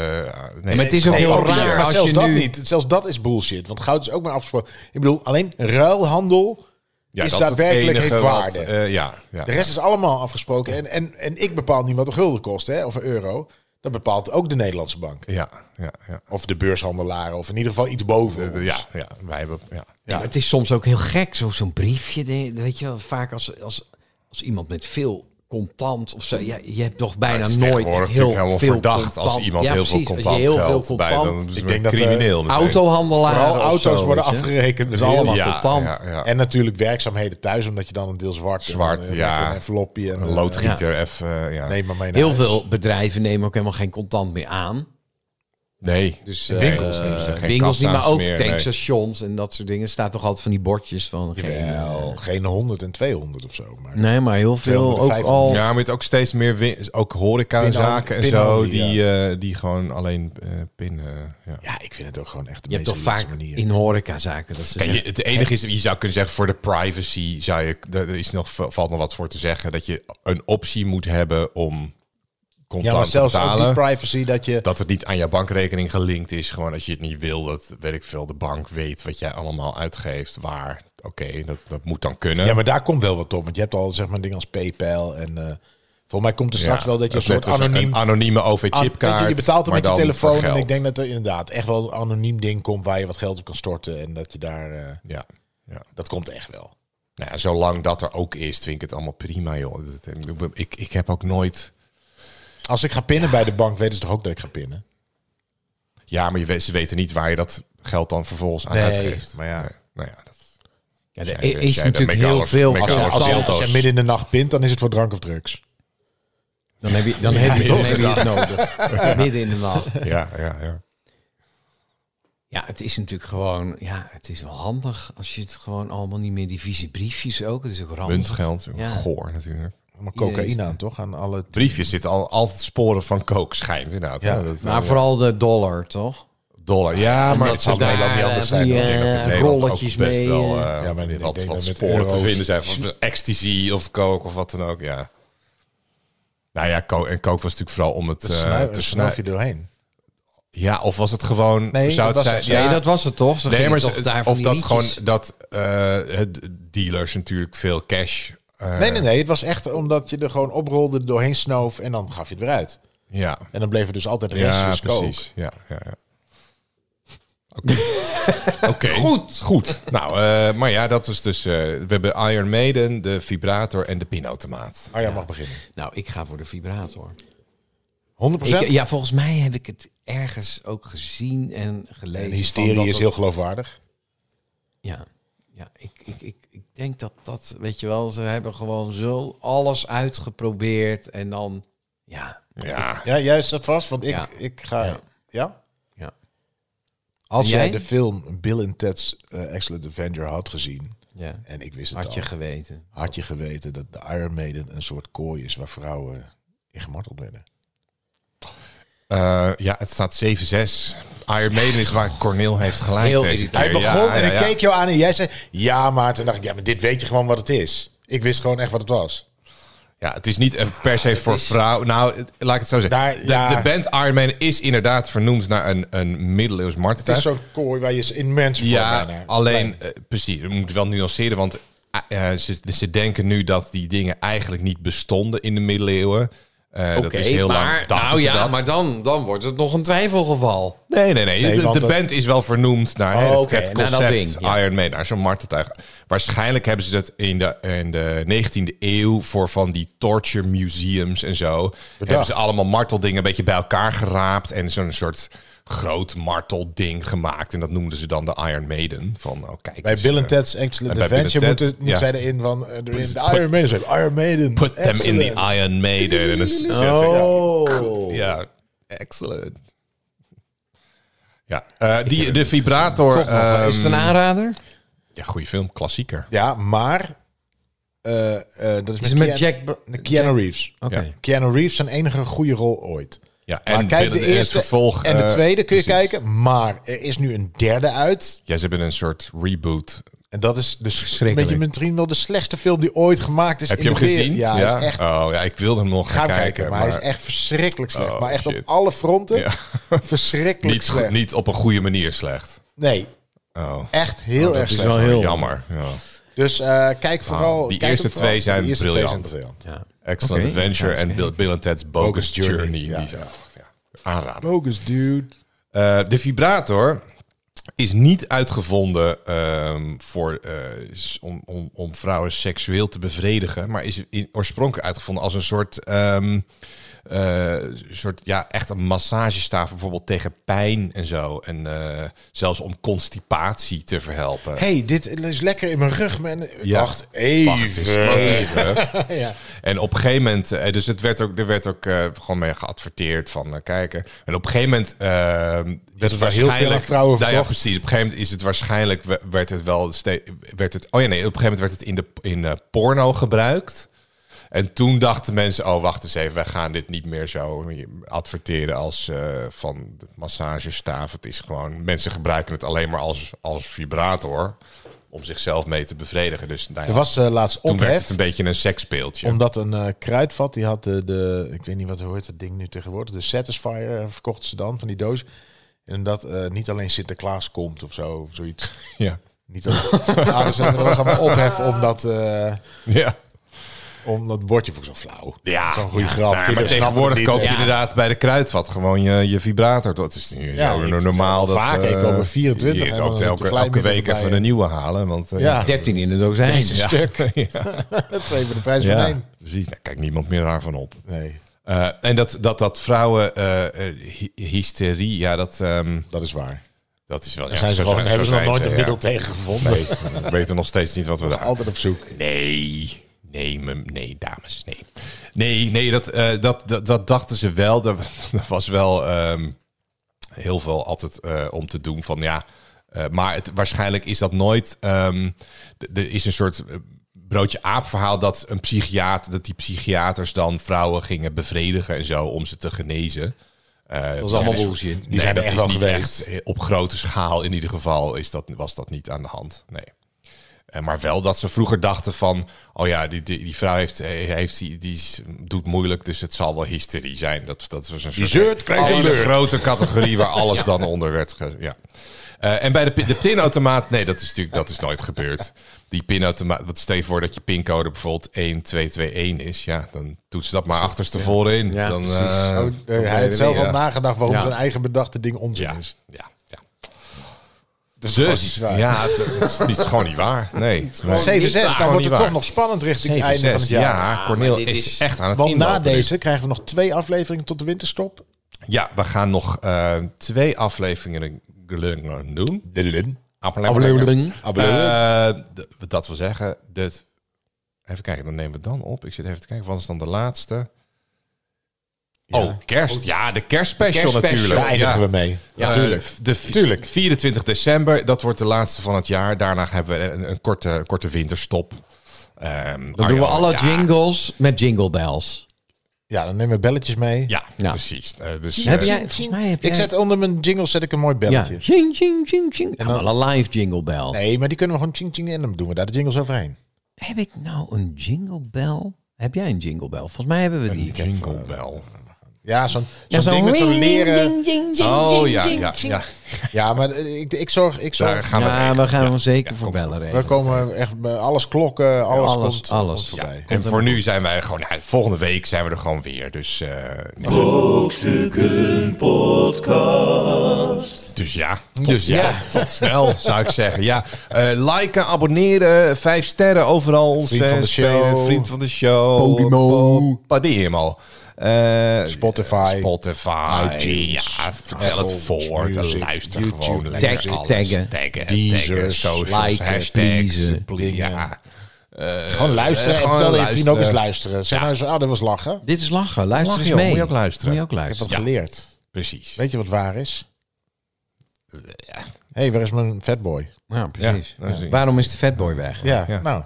nee,
het is ook
gewoon
heel
papier.
raar
Oh, maar
als
zelfs
je
dat
nu-
niet. Zelfs dat is bullshit. Want goud is ook maar afgesproken. Ik bedoel, alleen ruilhandel
Ja,
is
dat het
daadwerkelijk
enige
heeft
wat,
waarde.
eh, ja, ja.
De rest is allemaal afgesproken. En, en, en ik bepaal niet wat een gulden kost, hè, of een euro. Dat bepaalt ook de Nederlandse bank.
Ja, ja, ja.
Of de beurshandelaren, of in ieder geval iets boven. ons.
Ja, ja, wij hebben... Ja.
Ja, maar het is soms ook heel gek. zo- Zo'n briefje. de- Weet je wel, vaak als, als, als iemand met veel contant of zo. Ja, je hebt toch bijna
het is
nooit
tegenwoordig
heel
natuurlijk helemaal
veel
verdacht
contant.
als iemand
Ja,
heel veel
precies, als je
contant
heel veel
geldt bij.
contant-
Dan is
Ik
het
denk
een
dat, eh,
crimineel meteen.
Autohandelaren
Vooral
of
auto's
zo,
worden
weet je.
afgerekend met allemaal
Ja. contant.
Ja, ja.
En natuurlijk werkzaamheden thuis, omdat je dan een deel zwart...
Zwart,
en, eh,
ja.
Een envelopje en...
Een
eh,
loodgieter, even... eh, ja.
Neem maar mee naar
Heel
huis.
veel bedrijven nemen ook helemaal geen contant meer aan.
Nee.
Dus
In
eh,
winkels niet. Er zijn geen
winkels niet, maar
kassa's
ook
meer, nee.
tankstations en dat soort dingen. Er staat toch altijd van die bordjes van. geen-
Jawel, geen 100 en 200 of zo. Maar
nee, maar heel veel
250.
ook al.
Ja, maar met ook steeds meer win- ook horecazaken en
Pin-
zo,
pinolie,
die, eh, die gewoon alleen eh, pinnen. Ja.
ja, ik vind het ook gewoon echt de
Je hebt
meest
toch vaak
linkse manier.
in horecazaken. Dat ze
Kijk,
zeggen,
je- het enige is, je zou kunnen zeggen, voor de privacy zou je, daar is nog, valt nog wat voor te zeggen, dat je een optie moet hebben om
ja, maar
contant te
zelfs ook die
betalen.
privacy dat je...
dat het niet aan je bankrekening gelinkt is. Gewoon als je het niet wil, dat weet ik veel, de bank weet wat jij allemaal uitgeeft, waar. Oké, dat, dat moet dan kunnen.
Ja, maar daar komt wel wat op. Want je hebt al zeg maar dingen als PayPal en... eh, volgens mij komt er
Ja,
straks wel dat je een
net
soort
als
anoniem...
Een anonieme
an-
OV-chipkaart.
weet je, je betaalt hem
maar
met je
dan voor
telefoon. En
geld.
ik denk dat er inderdaad echt wel een anoniem ding komt... waar je wat geld op kan storten. En dat je daar... eh,
Ja, ja.
dat komt echt wel.
Nou ja, zolang dat er ook is, vind ik het allemaal prima, joh. Dat- ik- Ik, ik heb ook nooit...
Als ik ga pinnen bij de bank, weten ze toch ook dat ik ga pinnen?
Ja, maar je weet, ze weten niet waar je dat geld dan vervolgens aan
Nee,
uitgeeft.
maar ja.
Nee, nou ja, dat...
ja, er
Zij-
is
zij de
natuurlijk
Megalos-
heel veel.
Megalos-
Als je, als je-
Santos.
Als jij midden in de nacht pint, dan is het voor drank of drugs.
dan heb je, dan heb je, dan heb je het nodig. Midden in de nacht.
Ja, ja, ja.
Ja, het is natuurlijk gewoon. Ja, het is wel handig als je het gewoon allemaal niet meer. Die vieze briefjes ook. Het is ook randig.
Muntgeld,
Ja.
goor natuurlijk.
Allemaal
Iedereen is
cocaïne aan, toch? Aan alle
Briefjes zitten al, altijd sporen van kook, schijnt inderdaad.
Ja,
hè. Dat- eh,
Maar vooral de dollar, toch?
dollar. Ja, maar
dat
het
ze
zal
daar,
Nederland niet anders
eh,
zijn.
die,
ik denk dat in
eh,
Nederland ook
rolletjes
best
mee,
wel
eh,
eh,
Ja, maar ik
wat,
denk
wat
dat met
sporen te
euro's-
vinden zijn. Van ecstasy of kook of wat dan ook, ja. Nou ja, kook, en kook was natuurlijk vooral om het eh, te
snuif, snuif je
snuiven.
doorheen.
Ja, of was het gewoon...
Nee,
zou het
dat was
zijn,
het.
ja,
Nee, dat was het toch? Ze
nee,
gingen
maar
toch
ze-
daar van
of
die
dat
liedjes-
gewoon dat eh, het- dealers natuurlijk veel cash... eh,
Nee, nee, nee. Het was echt omdat je er gewoon oprolde, doorheen snoof en dan gaf je het weer uit.
Ja,
En dan bleven dus altijd
ja
restjes ja,
precies. Ja, ja, ja. Oké. Oké.
Goed.
Goed. Nou, eh, maar ja, dat was dus... eh, we hebben Iron Maiden, de vibrator en de pinautomaat.
Arjan Ah mag beginnen. 100%?
Nou, ik ga voor de vibrator. Ik- ja, volgens mij heb ik het ergens ook gezien en gelezen.
en
van dat
hysterie is
het-
heel geloofwaardig.
Ja, ja ik, ik, ik, ik denk dat dat, weet je wel, ze hebben gewoon zo alles uitgeprobeerd en dan, ja,
Ja.
Ja, jij staat vast, want ik,
Ja.
ik ga... Ja?
Ja. ja.
Als
En
jij?
jij?
de film Bill and Ted's eh, Excellent Avenger had gezien...
ja.
en ik wist het
Had je
al...
geweten.
had je geweten dat de Iron Maiden een soort kooi is... waar vrouwen in gemarteld werden.
Eh, ja, het staat 7-6. Iron Maiden is waar Cornel heeft gelijk
Heel
deze keer.
irritant.
Hij begon
Ja,
en
ja,
ik
ja.
keek jou aan en jij zei... Ja, Maarten. En dacht ik, ja, maar dit weet je gewoon wat het is. Ik wist gewoon echt wat het was.
Ja, het is niet eh, per se voor vrouw. Nou, het- laat ik het zo zeggen.
Daar-
de,
ja.
de band Iron Maiden is inderdaad vernoemd naar een, een middeleeuws
Het is
marteltuig.
zo'n kooi waar je in mensen
Ja, alleen, eh, precies. We moeten wel nuanceren, want eh, eh, ze, ze denken nu dat die dingen eigenlijk niet bestonden in de middeleeuwen. Eh, dat
Oké,
is heel
maar,
lang dachten
nou
ze
ja,
dat.
maar dan, dan wordt het nog een twijfelgeval.
Nee, nee, nee.
Nee,
de,
want
de
het-
band is wel vernoemd naar hè,
Oh,
het,
oké,
het
naar dat
concept
ding, ja.
Iron Maiden, naar zo'n marteltuig. Waarschijnlijk hebben ze dat in de, in de 19e eeuw voor van die torture museums en zo. Hebben ze allemaal marteldingen een beetje bij elkaar geraapt en zo'n soort groot martelding gemaakt. En dat noemden ze dan de Iron Maiden. Van, oh, kijk
Bij
eens,
Bill
eh,
and Ted's Excellent
en bij Bill
Adventure
and
moet,
Ted,
het, moet
ja.
zij erin van... eh, erin de
put-
Iron Maiden. Ze hebben Iron Maiden.
Put them in
excellent.
the Iron Maiden. En dan is het-
Oh.
Ja, excellent. Ja, eh, die, de vibrator.
Toch nog wel. is het een
ehm,
aanrader?
ja, goede film, klassieker.
Ja, maar... eh, eh, dat is,
Is het met Jack... Br-
Keanu, Keanu Reeves.
Oké.
Ja.
Keanu Reeves zijn enige goede rol ooit.
Ja,
Maar
en
kijk,
binnen-
de
en
eerste
het vervolg.
en de
eh,
tweede kun je
precies.
kijken. Maar er is nu een derde uit.
Ja, ze hebben een soort reboot.
En dat is dus een
Schrikkelijk.
beetje misschien wel de slechtste film die ooit gemaakt is.
Heb
in
je hem
de wereld.
gezien?
Ja, hij is echt
Oh ja, ik wilde hem nog
Ga
gaan
hem
kijken.
kijken, maar,
maar
hij is echt verschrikkelijk slecht.
Oh,
maar echt
shit.
op alle fronten
Ja.
verschrikkelijk
niet,
slecht.
goed- niet op een goede manier slecht.
Nee,
Oh,
echt heel erg
is
slecht.
wel heel-
jammer. Ja.
Dus eh, kijk vooral...
die
kijk
eerste
hem vooral.
twee zijn
Die eerste twee
briljant.
zijn briljant.
Ja.
Excellent
Oké,
Adventure
ik ga
en
eens
Bill, Bill and Ted's Bogus,
Bogus
Journey.
Journey, ja.
Die zijn, ja, aanrader.
Bogus, dude.
Eh, de vibrator is niet uitgevonden ehm, voor, eh, s- om, om, om vrouwen seksueel te bevredigen, maar is in, oorspronkelijk uitgevonden als een soort, ehm, eh, soort ja, echt een massagestaaf, bijvoorbeeld tegen pijn en zo. En eh, zelfs om constipatie te verhelpen.
hey, dit is lekker in mijn rug. Man.
Ja.
Wacht even.
Wacht eens even.
Ja.
En op een gegeven moment, eh, dus het werd ook, er werd ook eh, gewoon mee geadverteerd van eh, kijken. En op een gegeven moment eh, werd
het wel heel veel aan vrouwen
nou, ja,
verkocht.
precies. Op een gegeven moment is het waarschijnlijk we- werd het wel ste- werd het. Oh ja, nee. Op een gegeven moment werd het in de in eh, porno gebruikt. En toen dachten mensen, oh wacht eens even, wij gaan dit niet meer zo adverteren als eh, van de massagestaaf. Het is gewoon, mensen gebruiken het alleen maar als, als vibrator om zichzelf mee te bevredigen. Dus nou ja,
Er was eh, laatst
toen werd het
ophef.
een beetje een seksspeeltje.
Omdat een eh, kruidvat, die had de, de, ik weet niet wat hoe heet dat ding nu tegenwoordig, de Satisfier eh, verkochten ze dan van die doos. En dat eh, niet alleen Sinterklaas komt of zo, of zoiets.
Ja.
Niet alleen, ja, dus er was allemaal ophef om dat, eh,
Ja.
om dat bordje voor zo flauw.
Ja,
Zo'n goede grap.
Nou ja, maar
Kinderen snappen
tegenwoordig
het
koop je
dus niet, hè?
inderdaad bij de kruidvat gewoon je, je vibrator. Dat is nu
Ja,
zo
ik
normaal.
stel
Dat,
vaak,
eh,
ik koop er 24
Je
en
koopt
dan
elke,
een klein
elke
beetje
week
erbij,
even
hè.
een nieuwe halen. Want, eh,
Ja.
13 in de dozijn.
Jezus. stuk.
ja,
Twee voor de prijs van
ja,
één.
precies. Daar kijkt niemand meer raar van op.
Nee,
Eh, en dat, dat, dat vrouwen eh, eh, hy- hysterie, ja, dat, ehm,
dat is waar.
dat is wel... Ja,
Daar zijn ze
zo
gewoon, hebben ze
zo
nog nooit
zijn
een
ze,
middel tegen gevonden.
ja. Nee, we weten nog steeds niet wat we daar...
Altijd op zoek.
Nee, nee, mem- nee, dames, nee. Nee, nee, dat, eh, dat, dat, dat dachten ze wel. Dat, dat was wel ehm, heel veel altijd eh, om te doen van ja. eh, maar het, waarschijnlijk is dat nooit. ehm, d- er is een soort eh, broodje aap verhaal dat een psychiater, dat die psychiaters dan vrouwen gingen bevredigen en zo om ze te genezen.
Dat is allemaal bullshit.
Die
er
zijn dat
echt
is
wel
niet
geweest.
echt eh, op grote schaal in ieder geval is dat, was dat niet aan de hand. Nee. Eh, Maar wel dat ze vroeger dachten van, oh ja, die, die, die vrouw heeft, eh, heeft die, die is- doet moeilijk, dus het zal wel hysterie zijn. Dat, dat was een soort
zeurt, krijgt een
hele
beurt.
grote categorie waar alles dan onder werd. ge- ja. Eh, en bij de, pin- de pinautomaat, nee, dat is natuurlijk dat is nooit gebeurd. Die pinautomaat, wat stel je voor dat je pincode bijvoorbeeld 1221 is, ja, dan doet ze dat maar achterstevoren in.
Ja,
dan,
precies.
eh,
Oh, eh, hij heeft zelf
ja.
al nagedacht waarom
Ja.
zijn eigen bedachte ding onzin
ja,
is.
ja, ja.
Dus,
Dus, ja, het, het is, niet- gewoon niet waar. Nee. nou Nee.
7-6, dan
gewoon
nou wordt
niet
het toch
waar.
nog spannend richting het
7-6,
einde van het jaar.
Ja, Corneel
Ah, dit
is
is-
echt aan het
Want na
inlopen nu.
deze krijgen we nog twee afleveringen tot de winterstop.
Ja, we gaan nog eh, twee afleveringen doen.
De Lun.
Aflevering.
Ah,
Eh, d- dat wil zeggen, dit, even kijken, dan nemen we het dan op. Ik zit even te kijken, wat is dan de laatste? Oh, kerst. Ja, de kerstspecial
kerstspecial.
natuurlijk.
Daar eindigen
ja.
we mee.
Ja,
Eh,
tuurlijk.
De vi- 24 december, dat wordt de laatste van het jaar. Daarna hebben we een, een korte, korte winterstop. Ehm,
Dan doen we
Arjan,
alle
ja,
jingles met jingle bells.
Ja, dan nemen we belletjes mee.
Ja,
Ja.
precies. Eh, dus,
Heb
eh,
jij, volgens mij heb jij...
Ik zet onder mijn jingle zet ik een mooi
ja,
belletje.
ching, ching, ching, ching. Ja, maar een live jingle bell.
Nee, maar die kunnen we gewoon ching ching en dan doen we daar de jingles overheen.
Heb ik nou een jingle bell? Heb jij een jingle bell? Volgens mij hebben we die.
Een jingle bell.
Ja, zo'n
Ja,
zo'n ding met zo'n leren.
ding, ding, ding,
Oh
ding,
ja,
ding,
ja,
ding.
ja.
Ja, maar eh, ik, ik zorg... Ik
Daar
zorg
gaan we
ja,
regelen.
we gaan hem zeker
Ja,
voor
komt
bellen
we
regelen.
komen echt... bij Alles klokken, alles,
alles,
komt,
alles.
komt
Ja,
voorbij.
en voor nu zijn wij gewoon... nou, volgende week zijn we er gewoon weer. Dus, eh, nee.
Brokstukken Podcast.
dus ja, tot,
Dus ja.
tot- tot snel zou ik zeggen. Ja, eh, liken, abonneren, vijf sterren overal. Ons
Vriend van
eh,
de
spelen,
show.
Vriend van de show.
Podimo.
Po- Podimo. Eh,
Spotify.
Spotify.
iTunes.
ja, vertel
Apple
het voort.
Music.
Luister
YouTube.
gewoon lekker
Taggen,
alles.
taggen.
Taggen,
Deezers.
taggen, socials,
Liken,
hashtags.
pleasen.
pleasen. Ja.
Gewoon luisteren.
eh,
en
gewoon
vertel je vrienden ook eens
luisteren.
luisteren. Zeg nou eens, ah, dat was lachen.
Dit is lachen. Luister
Lachen,
eens
joh.
mee.
Moet je ook luisteren.
Moet je ook
Ik heb dat
luisteren.
Ja.
geleerd.
Precies.
Weet je wat waar is?
Ja.
Hé, hey, waar is mijn fatboy?
Ja, precies.
dat is-
Ja. Waarom is de fatboy weg?
Ja,
Ja.
nou.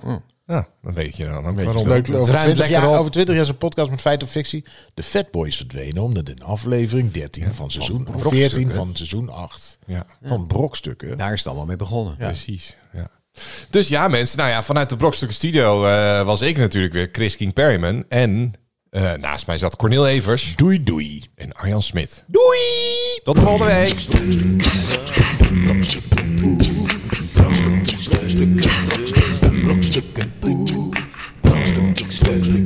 Ja, dan weet je dan ook
je
waarom.
het
Leuk,
Het
over
ruimt
20,
lekker
jaar,
op.
over 20 jaar is een podcast met feit of fictie. De Fatboy is verdwenen omdat in aflevering 13 van seizoen of 14
brokstukken.
van seizoen 8
Ja,
van brokstukken.
Daar is het allemaal mee begonnen.
precies. Ja. Dus ja, mensen. Nou ja, vanuit de Brokstukken Studio eh, was ik natuurlijk weer Chris King Perryman. En eh, naast mij zat Cornel Evers. Doei, doei. En Arjan Smit. Doei. Tot de volgende week.
Brokstukken Brokstukken